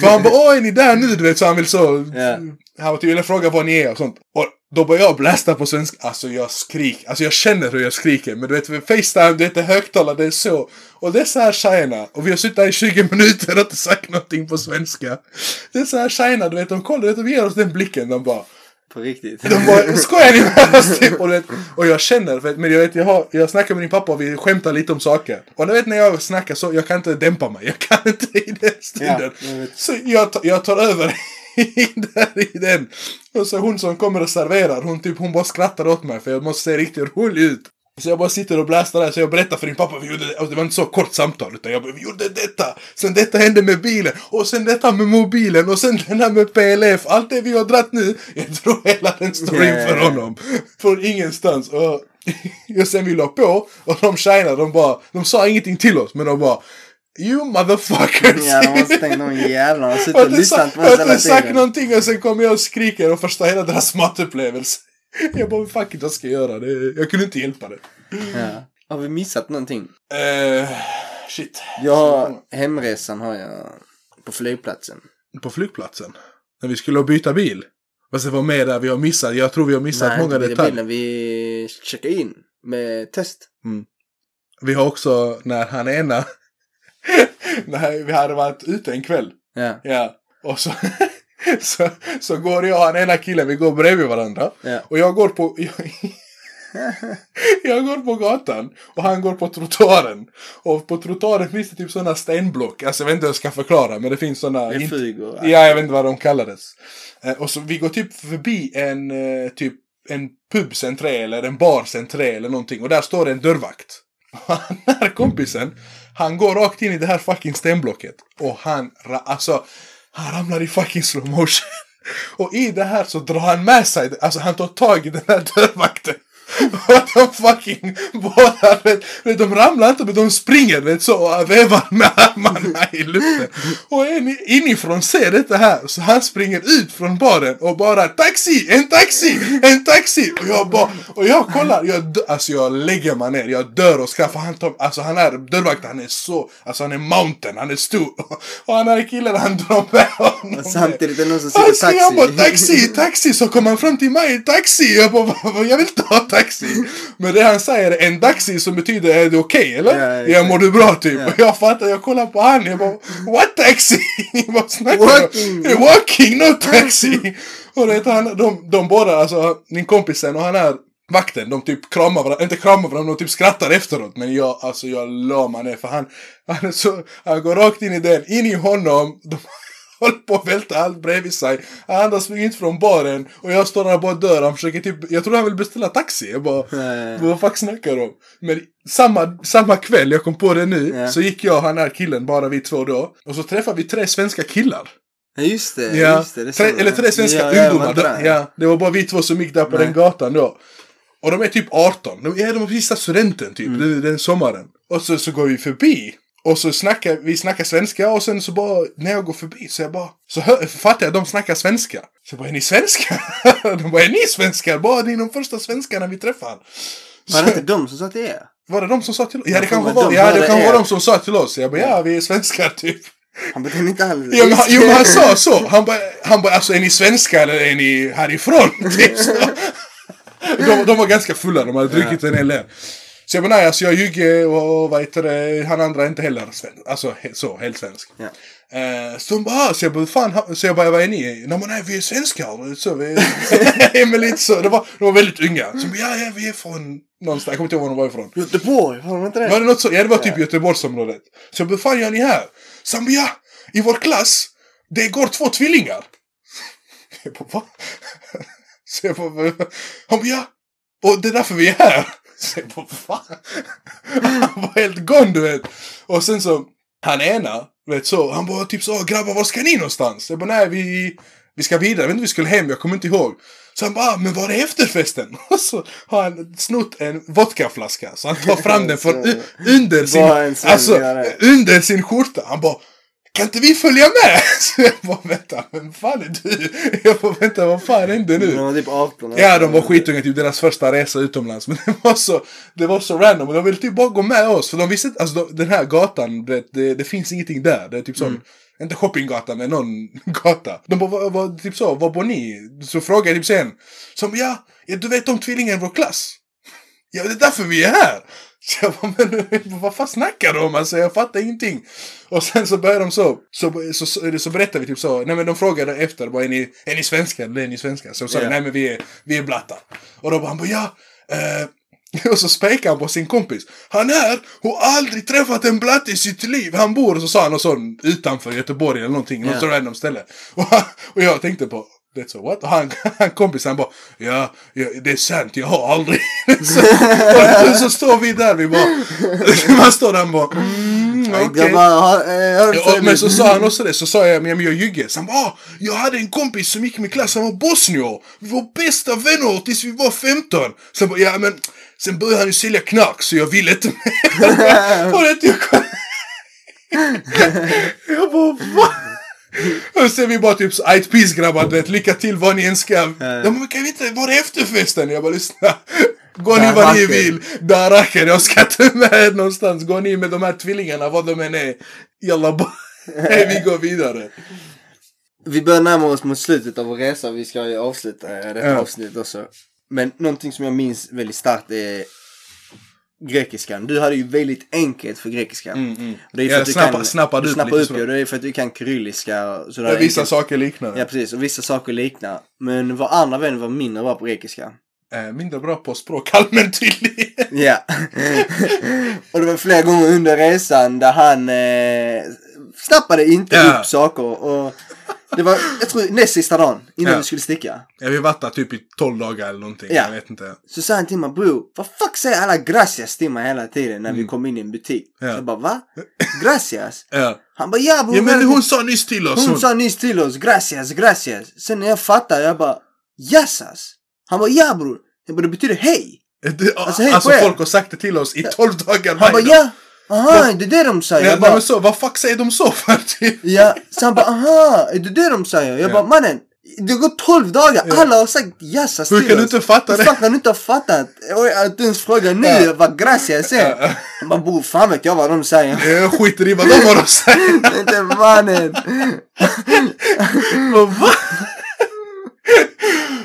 Speaker 3: För han bara, åh är ni där nu? Du vet, så han vill så.
Speaker 2: Ja.
Speaker 3: Han var tydligen fråga var ni är och sånt. Och då började jag blästa på svenska. Alltså jag skriker. Alltså jag känner hur jag skriker. Men du vet, med Facetime, det är inte högtalare, det är så. Och det är så här tjejerna. Och vi har suttit här i 20 minuter och inte sagt någonting på svenska. Det är så här tjejerna, du vet, de kollar, du vet, de ger oss den blicken. De bara,
Speaker 2: På riktigt.
Speaker 3: [LAUGHS] de bara, skojar ni med oss? Typ. Och, du vet, och jag känner, för, att- men jag, vet, jag, har, jag snackar med din pappa och vi skämtar lite om saker. Och du vet när jag snackar så, jag kan inte dämpa mig. Jag kan inte i den stunden.
Speaker 2: Ja, jag vet.
Speaker 3: så jag, tar- jag tar över [LAUGHS] där i den. Och så hon som kommer och serverar, hon, typ, hon bara skrattar åt mig för jag måste se riktigt rolig ut. Så jag bara sitter och blastar där, så jag berättar för din pappa, vi gjorde det, och det var inte så kort samtal, utan jag bara, vi gjorde detta, sen detta hände med bilen, och sen detta med mobilen, och sen den här med PLF, allt det vi har dratt nu, jag tror hela den storyn
Speaker 2: Yeah.
Speaker 3: för honom. Från ingenstans. Och, [LAUGHS] och sen vi la på, och de tjejerna, de bara, de sa ingenting till oss, men de bara, you
Speaker 2: [LAUGHS]
Speaker 3: motherfuckers!
Speaker 2: Ja, de
Speaker 3: [LAUGHS]
Speaker 2: måste tänkt någon jävla. De har suttit
Speaker 3: Jag
Speaker 2: och
Speaker 3: har inte
Speaker 2: lyssnat
Speaker 3: sagt-
Speaker 2: på
Speaker 3: jag har
Speaker 2: oss
Speaker 3: inte
Speaker 2: hela
Speaker 3: sagt
Speaker 2: tiden.
Speaker 3: någonting och sen kommer jag och skriker och förstör hela deras matupplevelse. [LAUGHS] Jag bara, fuck it, vad ska jag göra? Det, jag kunde inte hjälpa det.
Speaker 2: Ja. Har vi missat någonting?
Speaker 3: Eh, shit.
Speaker 2: Jag har, hemresan har jag på flygplatsen.
Speaker 3: På flygplatsen. När vi skulle byta bil. Fast det var med där vi har missat. Jag tror vi har missat många
Speaker 2: inte vid
Speaker 3: detaljer.
Speaker 2: bilen. Vi checkar in med test.
Speaker 3: Vi har också när han ena. [LAUGHS] när vi hade varit ute en kväll.
Speaker 2: Ja,
Speaker 3: Ja. Och så. [LAUGHS] så, så går jag och han ena killen, vi går bredvid varandra.
Speaker 2: ja.
Speaker 3: Och jag går på... [LAUGHS] Jag, jag går på gatan och han går på trottoaren. Och på trottoaren finns det typ sådana stenblock. Alltså jag vet inte hur jag ska förklara men det finns sådana...
Speaker 2: Det är flyg och...
Speaker 3: Ja, jag vet inte vad de kallades. Eh, Och så vi går typ förbi en eh, typ en pubs entré eller en bars entré eller någonting och där står det en dörrvakt. [LAUGHS] Och den här kompisen, han går rakt in i det här fucking stenblocket och han, ra- alltså, han ramlar i fucking slow motion. [LAUGHS] Och i det här så drar han med sig, alltså han tar tag i den här dörrvakten. [LAUGHS] Och de fucking båda, vet, vet, de ramlar inte men de springer vet så och vevar med armarna i luften. Och en inifrån ser detta här så han springer ut från baren och bara taxi, en taxi, en taxi. Och jag bara, och jag kollar, jag dö, alltså jag lägger mig ner, jag dör och skrattar. för Han tar, alltså han är dörrvakten, han är så, alltså han är mountain, han är stor. [LAUGHS] Och han är killen, han drar med honom.
Speaker 2: Och samtidigt är det någon som sitter i
Speaker 3: Alltså, jag bara
Speaker 2: taxi.
Speaker 3: taxi, taxi, så kom han fram till mig, taxi! Jag bara, "Vad- vad- jag vill inte ha taxi! Men det han säger är en taxi som betyder, är det okej eller?
Speaker 2: Ja,
Speaker 3: Ja,
Speaker 2: exakt.
Speaker 3: mår du bra typ? Och jag fattar, jag kollar på han, jag bara, what taxi? [LAUGHS] Vad snackar du om?
Speaker 2: Walking.
Speaker 3: Eh, Walking, no taxi! [LAUGHS] Och det, han, de, de båda, alltså min kompisen och han är vakten, de typ kramar varandra, inte kramar varandra, de typ skrattar efteråt. Men jag, alltså jag la mig ner för han, han, är så, han går rakt in i den, in i honom. De, [LAUGHS] Håller på att välta allt bredvid sig. Han andra springer ut från baren och jag står där och bara dör. Han försöker typ, jag tror han vill beställa taxi. Jag bara,
Speaker 2: Nej.
Speaker 3: vad fuck snackar du om? Men samma, samma kväll, jag kom på det nu,
Speaker 2: Ja.
Speaker 3: så gick jag och han här killen, bara vi två då. Och så träffade vi tre svenska killar.
Speaker 2: Ja, just det.
Speaker 3: Ja.
Speaker 2: Just det, det
Speaker 3: tre,
Speaker 2: stämmer.
Speaker 3: eller tre svenska
Speaker 2: Ja, ja,
Speaker 3: ungdomar.
Speaker 2: vad bra.
Speaker 3: Det, ja, det var bara vi två som gick där på
Speaker 2: Nej.
Speaker 3: den gatan då. Och de är typ 18. De är de sista studenten typ,
Speaker 2: Mm.
Speaker 3: den, den sommaren. Och så, så går vi förbi. Och så snackar vi snackar svenska och sen så bara när jag går förbi så jag bara så hör, fattar jag att de snackar svenska. Så jag bara är ni svenskar? [LAUGHS] De bara är ni svenskar? Bara ni är de första svenskarna vi träffar.
Speaker 2: Var det inte de som sa till er?
Speaker 3: Var det de som sa till oss? Ja, det
Speaker 2: Jag
Speaker 3: kanske
Speaker 2: tror
Speaker 3: var,
Speaker 2: de
Speaker 3: ja,
Speaker 2: bara
Speaker 3: det kanske var
Speaker 2: är-
Speaker 3: de som sa till oss. Jag bara, ja, vi är svenskar [LAUGHS] typ.
Speaker 2: Han bara, den är inte alls...
Speaker 3: Jo, men han, jo, men han sa så. Han bara, han bara, alltså är ni svenskar eller är ni härifrån? [LAUGHS] Typ så. De, de var ganska fulla, de hade druckit en hel del. Så jag bara, nej, alltså jag ljuger och vad heter det, han andra är inte heller svensk. Alltså he, så, helt svensk.
Speaker 2: Ja.
Speaker 3: Eh, så de bara, ah, så jag bara, fan, ha- så jag bara, vad är ni? Nej, men nej, vi är svenskar. Så vi, [LAUGHS] är men lite så. De var, de var väldigt unga. Så jag bara, ja, ja, vi är från någonstans, jag kommer inte ihåg var de var ifrån.
Speaker 2: Göteborg, har de inte
Speaker 3: Var
Speaker 2: det?
Speaker 3: det något så? Ja, det var typ Göteborgsområdet. Så jag bara, fan gör ni här? Zambia, i vår klass, det går två tvillingar. [LAUGHS] Jag bara, va? Så jag bara, "Va?" han bara, ja! Och det är därför vi är här! Så jag bara, va? [LAUGHS] Han var helt gone, du vet! Och sen så, han ena, du vet så, han bara typ så, grabbar var ska ni någonstans? Jag bara, nej vi, vi ska vidare, jag vet inte vi skulle hem, jag kommer inte ihåg. Så han bara, "Ah, men var är efterfesten? [LAUGHS] Och så har han snott en vodkaflaska, så han tar fram den från u- under sin,
Speaker 2: Vad en sån
Speaker 3: alltså,
Speaker 2: grej.
Speaker 3: under sin skjorta. Han bara, kan inte vi följa med? [LAUGHS] Så jag bara, vänta, vem fan är du? [LAUGHS] Jag bara, vänta, vad fan händer nu?
Speaker 2: De var typ 18.
Speaker 3: Ja, de var skitunga, typ deras första resa utomlands. Men det var så, det var så random. Och de ville typ bara gå med oss. För de visste inte, alltså de, den här gatan, det, det, det finns ingenting där. Det är typ sån, inte shoppinggata, men någon [LAUGHS] gata. De bara, vad, vad, typ så, vad bor ni? Så frågade jag typ sen. Som, ja, ja, du vet om tvillingen i vår klass? Ja, det är därför vi är här! [LAUGHS] Så jag bara, men vad fan snackar de om? Alltså jag fattar ingenting. Och sen så börjar de så. Så, så, så, så berättar vi typ så. Nej men de frågade efter. Bara, är, ni, är ni svenskar? Eller är ni svenskar? Så de sa
Speaker 2: Ja.
Speaker 3: nej men vi är, vi är blattar. Och då bara, han bara, ja. Eh. [LAUGHS] Och så spekar han på sin kompis. Han är och har aldrig träffat en blatt i sitt liv. Han bor, och så sa han något sånt utanför Göteborg eller någonting. Något
Speaker 2: Ja.
Speaker 3: så random ställe. [LAUGHS] Och, han, och jag tänkte på, det så what? Och han, [LAUGHS] han kompisen han bara, ja, ja, det är sant, jag har aldrig. [LAUGHS] så, och så, så står vi där, vi bara, [LAUGHS] man står där och bara, mm, okej.
Speaker 2: Okay. Grabbar, hör, eh, hör
Speaker 3: Ja,
Speaker 2: för
Speaker 3: men
Speaker 2: mig.
Speaker 3: så sa han också det, så sa jag, men jag ljuger. Så han bara, ah, jag hade en kompis som gick i min klass, han var bosnier. Vi var bästa vänner tills vi var 15. Så han bara, ja men, sen började han ju sälja knark så jag ville inte mer. Och det- jag kom- [LAUGHS] jag bara, va? Och sen vi bara typ så, "Ajt, peace grabbar, du vet, lycka till vad ni än ska. De bara, men kan vi inte, var är efterfesten? Jag bara, lyssna. Gå ni vad
Speaker 2: Daraker.
Speaker 3: ni vill. Daraker, jag ska inte med er någonstans. Gå ni med de här tvillingarna, vad de än är. Jalla, [LAUGHS] bara. Nej, vi går vidare.
Speaker 2: Vi börjar närma oss mot slutet av vår resa. Vi ska ju avsluta eh, detta
Speaker 3: Ja.
Speaker 2: avsnitt också. Men någonting som jag minns väldigt starkt är grekiskan. Du hade ju väldigt enkelt för grekiskan. Och det är ju för
Speaker 3: Mm. Ja,
Speaker 2: att du
Speaker 3: snappa-
Speaker 2: kan,
Speaker 3: snappade
Speaker 2: du
Speaker 3: ut
Speaker 2: snappar
Speaker 3: lite
Speaker 2: upp
Speaker 3: så.
Speaker 2: det. Och det är för att du kan kyrilliska. Och sådär
Speaker 3: Ja, vissa
Speaker 2: enkelt.
Speaker 3: saker liknar.
Speaker 2: Ja, precis. Och vissa saker liknar. Men vår andra vän var mindre bra på grekiska.
Speaker 3: Eh, mindre bra på språk [LAUGHS] allmänt tydligen.
Speaker 2: Ja. [LAUGHS] och det var flera gånger under resan där han eh, snappade inte
Speaker 3: Ja.
Speaker 2: upp saker. Och det var, jag tror, näst sista dagen innan
Speaker 3: Ja.
Speaker 2: vi skulle sticka.
Speaker 3: Ja, vi varit där typ i 12 dagar eller någonting.
Speaker 2: Ja.
Speaker 3: Jag vet inte.
Speaker 2: Så sa han till mig, bror, vad fuck säger alla gracias till mig hela tiden när vi kom in i en butik?
Speaker 3: Mm. Ja.
Speaker 2: Så jag bara, va? Gracias?
Speaker 3: Ja.
Speaker 2: Han bara, ja bror.
Speaker 3: ja, men
Speaker 2: välkommen."
Speaker 3: hon sa nyss till oss.
Speaker 2: Hon sa nyss till oss, gracias, gracias. Sen när jag fattar, jag bara, jassas? Han bara, ja bror. Jag bara, det betyder hej.
Speaker 3: Det,
Speaker 2: Alltså,
Speaker 3: alltså
Speaker 2: hej på er.
Speaker 3: folk har sagt det till oss i 12 dagar
Speaker 2: Han bara,
Speaker 3: varje
Speaker 2: ja. Aha, det är det de säger.
Speaker 3: Ja,
Speaker 2: Jag
Speaker 3: nej,
Speaker 2: bara,
Speaker 3: men så, vad fuck säger de så för? [LAUGHS] Typ?
Speaker 2: ja. Så han bara, aha, är det det de säger? Jag
Speaker 3: Ja.
Speaker 2: bara, mannen. Det har gått 12 dagar,
Speaker 3: Ja.
Speaker 2: alla har sagt jassas
Speaker 3: Hur
Speaker 2: till
Speaker 3: kan du
Speaker 2: oss.
Speaker 3: inte fatta
Speaker 2: Hur
Speaker 3: det?
Speaker 2: fan kan du inte ha fattat? Och Att du ens frågar nu
Speaker 3: Ja.
Speaker 2: vad gracias
Speaker 3: Ja, [LAUGHS]
Speaker 2: är.
Speaker 3: ja.
Speaker 2: Han bara, bror fan vet jag vad de säger. [LAUGHS]
Speaker 3: Jag skiter i vad de har att säga.
Speaker 2: Inte mannen.
Speaker 3: Vad va? [LAUGHS]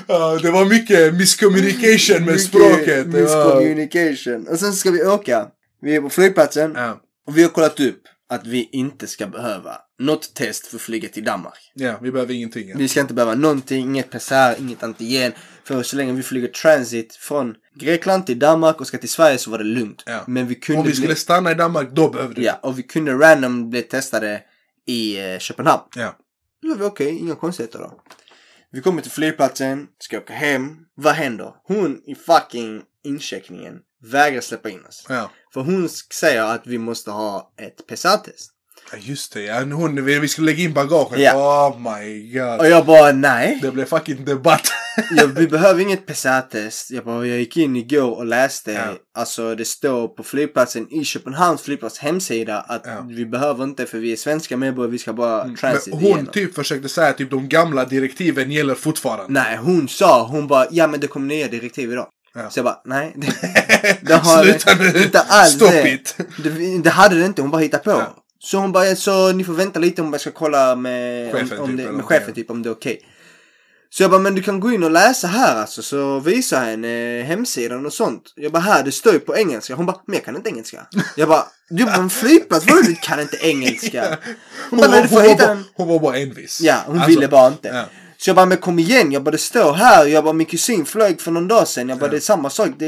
Speaker 3: Ja, det var mycket miscommunication med
Speaker 2: Mycket
Speaker 3: språket. Det var...
Speaker 2: Miscommunication. Och sen ska vi åka. Vi är på flygplatsen.
Speaker 3: Ja,
Speaker 2: Och vi har kollat upp att vi inte ska behöva något test för att flyga till Danmark.
Speaker 3: ja, vi behöver ingenting. Ja.
Speaker 2: Vi ska inte behöva någonting, inget PCR, inget antigen. För så länge vi flyger transit från Grekland till Danmark och ska till Sverige så var det lugnt.
Speaker 3: Ja.
Speaker 2: Men vi kunde
Speaker 3: Om vi
Speaker 2: bli-
Speaker 3: skulle stanna i Danmark, då behövde vi.
Speaker 2: Ja, och vi kunde random bli testade i eh, Köpenhamn.
Speaker 3: Ja.
Speaker 2: Då var vi okej, inga konstigheter då. Vi kommer till flygplatsen, ska åka hem. Vad händer? Hon i fucking incheckningen vägrar släppa in oss.
Speaker 3: Ja.
Speaker 2: För hon sk- säger att vi måste ha ett PCR-test.
Speaker 3: Ja, just det. Ja, hon, vi vi skulle lägga in bagaget.
Speaker 2: Ja.
Speaker 3: Oh my god.
Speaker 2: Och jag bara nej,
Speaker 3: Det blev
Speaker 2: [LAUGHS]
Speaker 3: fucking debatt.
Speaker 2: jag, vi behöver inget PCR-test. Jag bara, jag gick in igår och läste.
Speaker 3: Ja.
Speaker 2: Alltså det står på flygplatsen i Köpenhamns flygplats hemsida att
Speaker 3: Ja. Mm.
Speaker 2: vi behöver inte för vi är svenska medborgare, vi ska bara transit
Speaker 3: Men
Speaker 2: igenom.
Speaker 3: hon typ försökte säga typ de gamla direktiven gäller fortfarande.
Speaker 2: Nej, hon sa, hon bara, ja men det kommer nya direktiv idag.
Speaker 3: Ja. [LAUGHS]
Speaker 2: Så jag bara, nej. Det, det har
Speaker 3: Sluta nu.
Speaker 2: Inte alls
Speaker 3: Stop
Speaker 2: det.
Speaker 3: it.
Speaker 2: Det, det hade det inte, hon bara hittade på.
Speaker 3: Ja.
Speaker 2: Så hon bara, så ni får vänta lite, hon bara ska kolla med
Speaker 3: Chefen
Speaker 2: om, om
Speaker 3: typ,
Speaker 2: det, med
Speaker 3: eller någonting,
Speaker 2: chefen typ om det är okej. Så jag bara, men du kan gå in och läsa här alltså. Så visar henne eh, hemsidan och sånt. Jag bara, här det står ju på engelska. Hon bara, men jag kan inte engelska. Jag bara, du är på en flygplats, vadå du kan inte
Speaker 3: [LAUGHS]
Speaker 2: engelska? Hon
Speaker 3: Hon,
Speaker 2: bara,
Speaker 3: var,
Speaker 2: men du
Speaker 3: hon,
Speaker 2: får
Speaker 3: var,
Speaker 2: hitta
Speaker 3: bara,
Speaker 2: en...
Speaker 3: hon var bara envis.
Speaker 2: Ja, hon
Speaker 3: Alltså,
Speaker 2: ville bara inte.
Speaker 3: ja.
Speaker 2: Så jag bara, men kom igen, jag bara det står här, jag bara min kusin flög för någon dag sedan, jag bara
Speaker 3: Ja.
Speaker 2: det är samma sak, det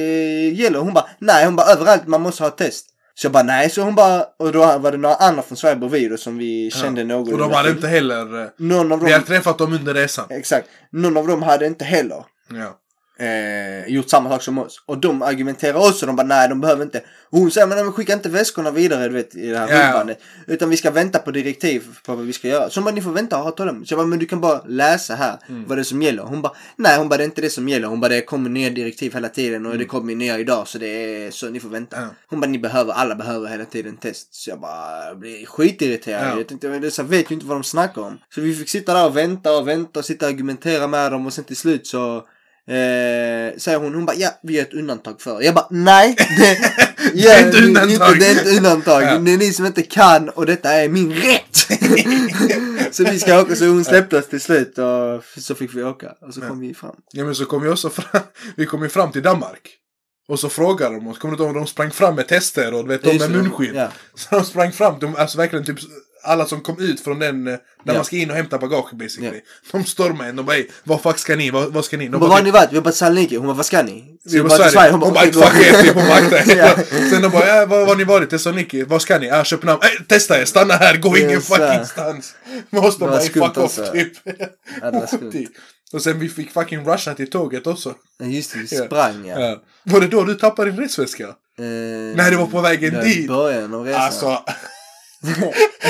Speaker 2: gäller. Hon bara, nej, hon bara överallt man måste ha test. Så jag bara nej, så hon bara, och då var det några andra från Sverige bredvid oss som vi kände
Speaker 3: Ja.
Speaker 2: någon.
Speaker 3: Och de hade inte heller... eh,
Speaker 2: Någon av
Speaker 3: Vi
Speaker 2: dem,
Speaker 3: hade träffat dem under resan.
Speaker 2: exakt. Någon av dem hade inte heller
Speaker 3: Ja.
Speaker 2: eh, gjort samma sak som oss. Och de argumenterar också. De bara nej, de behöver inte. Och hon säger men nej, men skicka inte väskorna vidare du vet, i det här
Speaker 3: Ja, ja.
Speaker 2: rullbandet. Utan vi ska vänta på direktiv på vad vi ska göra. Så hon bara ni får vänta och ha tålamod. Så jag bara men du kan bara läsa här
Speaker 3: Mm.
Speaker 2: vad det är som gäller. Hon bara nej, hon bara det är inte det som gäller. Hon bara det kommer nya direktiv hela tiden och
Speaker 3: Mm.
Speaker 2: det kommer nya idag så det är så ni får vänta.
Speaker 3: Ja.
Speaker 2: Hon bara ni behöver, alla behöver hela tiden test. Så jag bara jag blir skitirriterad.
Speaker 3: Ja.
Speaker 2: Jag tänkte men dessa vet ju inte vad de snackar om. Så vi fick sitta där och vänta och vänta och sitta och argumentera med dem och sen till slut så Eh, säger hon, hon bara ja vi gör ett undantag för er. Jag bara nej!
Speaker 3: [LAUGHS]
Speaker 2: Det,
Speaker 3: Det är ett
Speaker 2: ni-
Speaker 3: undantag.
Speaker 2: Inte, det är ett undantag.
Speaker 3: Ja.
Speaker 2: Det är ni som inte kan och detta är min
Speaker 3: [LAUGHS]
Speaker 2: rätt! så vi ska åka så hon släppte oss till slut och så fick vi åka. Och så kom vi fram.
Speaker 3: ja men så kom vi också fram, [LAUGHS] vi kom ju fram till Danmark. Och så frågade de oss, kommer du ihåg de sprang fram med tester och du vet de
Speaker 2: Just
Speaker 3: med
Speaker 2: det, de-
Speaker 3: munskydd.
Speaker 2: ja.
Speaker 3: Så de sprang fram, de, alltså verkligen typ alla som kom ut från den, eh,
Speaker 2: Ja.
Speaker 3: när man ska in och hämta bagage basically. De stormade en, de bara "Ey, vad fuck ska ni, vad, vad ska ni? De
Speaker 2: Hon bara var har ni varit? Vi har bara Saloniki. Hon bara vad ska ni? Så
Speaker 3: Vi
Speaker 2: jag
Speaker 3: var
Speaker 2: till
Speaker 3: Sverige. Hon bara
Speaker 2: "Okej,
Speaker 3: "Fuck
Speaker 2: då."
Speaker 3: er, typ, hon bara akta er."
Speaker 2: [LAUGHS] Ja.
Speaker 3: Sen de bara, äh, var var har ni varit? Thessaloniki, vad ska ni? Äh, Köpenhamn, äh, testa er, stanna här, gå ingen
Speaker 2: Yes, sir.
Speaker 3: fucking [LAUGHS] stans.
Speaker 2: Det
Speaker 3: Måste de
Speaker 2: var
Speaker 3: bara, "Ey,
Speaker 2: skumt
Speaker 3: fuck off
Speaker 2: alltså.
Speaker 3: typ.
Speaker 2: Ja, det var
Speaker 3: [LAUGHS]
Speaker 2: skumt.
Speaker 3: Och sen vi fick fucking rusha till tåget också.
Speaker 2: Ja, Just det, vi sprang ja. Eh,
Speaker 3: Ja. Var det då du tappade din resväska? Nej, det var på vägen
Speaker 2: I
Speaker 3: dit.
Speaker 2: början av resan.
Speaker 3: Alltså. [LAUGHS]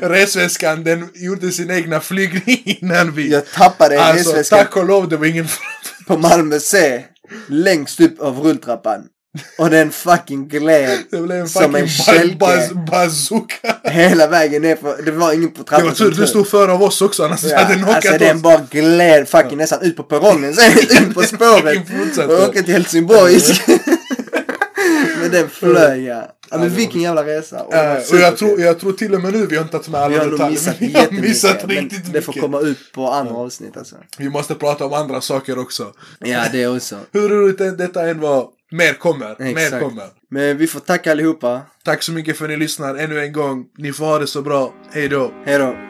Speaker 3: resväskan den gjorde sin egna flygning innan vi.
Speaker 2: [LAUGHS] jag tappade en
Speaker 3: alltså
Speaker 2: resväska
Speaker 3: tack och lov det var ingen [LAUGHS] fara.
Speaker 2: på Malmö C. Längst upp av rulltrappan. Och den fucking gled.
Speaker 3: [LAUGHS] Det blev en
Speaker 2: Som
Speaker 3: fucking
Speaker 2: en
Speaker 3: ba-
Speaker 2: kälke.
Speaker 3: baz- bazooka.
Speaker 2: Hela vägen ner för, det var ingen på
Speaker 3: Det
Speaker 2: trappan.
Speaker 3: var
Speaker 2: som
Speaker 3: tur du
Speaker 2: tog.
Speaker 3: stod före av oss också [LAUGHS] annars hade den
Speaker 2: Ja,
Speaker 3: hockat
Speaker 2: alltså
Speaker 3: oss.
Speaker 2: den bara gled fucking nästan ut på perrongen sen
Speaker 3: [LAUGHS]
Speaker 2: ut på spåret.
Speaker 3: Fucking fortsatte.
Speaker 2: Och åka till Helsingborg. [LAUGHS] men den flög ja. ja men vilken jävla resa. Och, den var
Speaker 3: Eh, och jag
Speaker 2: superkul.
Speaker 3: tror, jag tror till och med nu vi har inte tagit med
Speaker 2: Vi
Speaker 3: alla
Speaker 2: har nog
Speaker 3: detaljer.
Speaker 2: missat
Speaker 3: men [LAUGHS] Vi har missat
Speaker 2: jättemycket. Men
Speaker 3: riktigt
Speaker 2: det får
Speaker 3: mycket.
Speaker 2: komma ut på andra avsnitt alltså.
Speaker 3: Vi måste prata om andra saker också.
Speaker 2: Ja det också.
Speaker 3: Hur roligt det- detta än var, mer kommer. Mer
Speaker 2: Exakt.
Speaker 3: kommer.
Speaker 2: Men vi får tacka allihopa.
Speaker 3: Tack så mycket för att ni lyssnar ännu en gång. Ni får ha det så bra. Hej då.
Speaker 2: Hej då.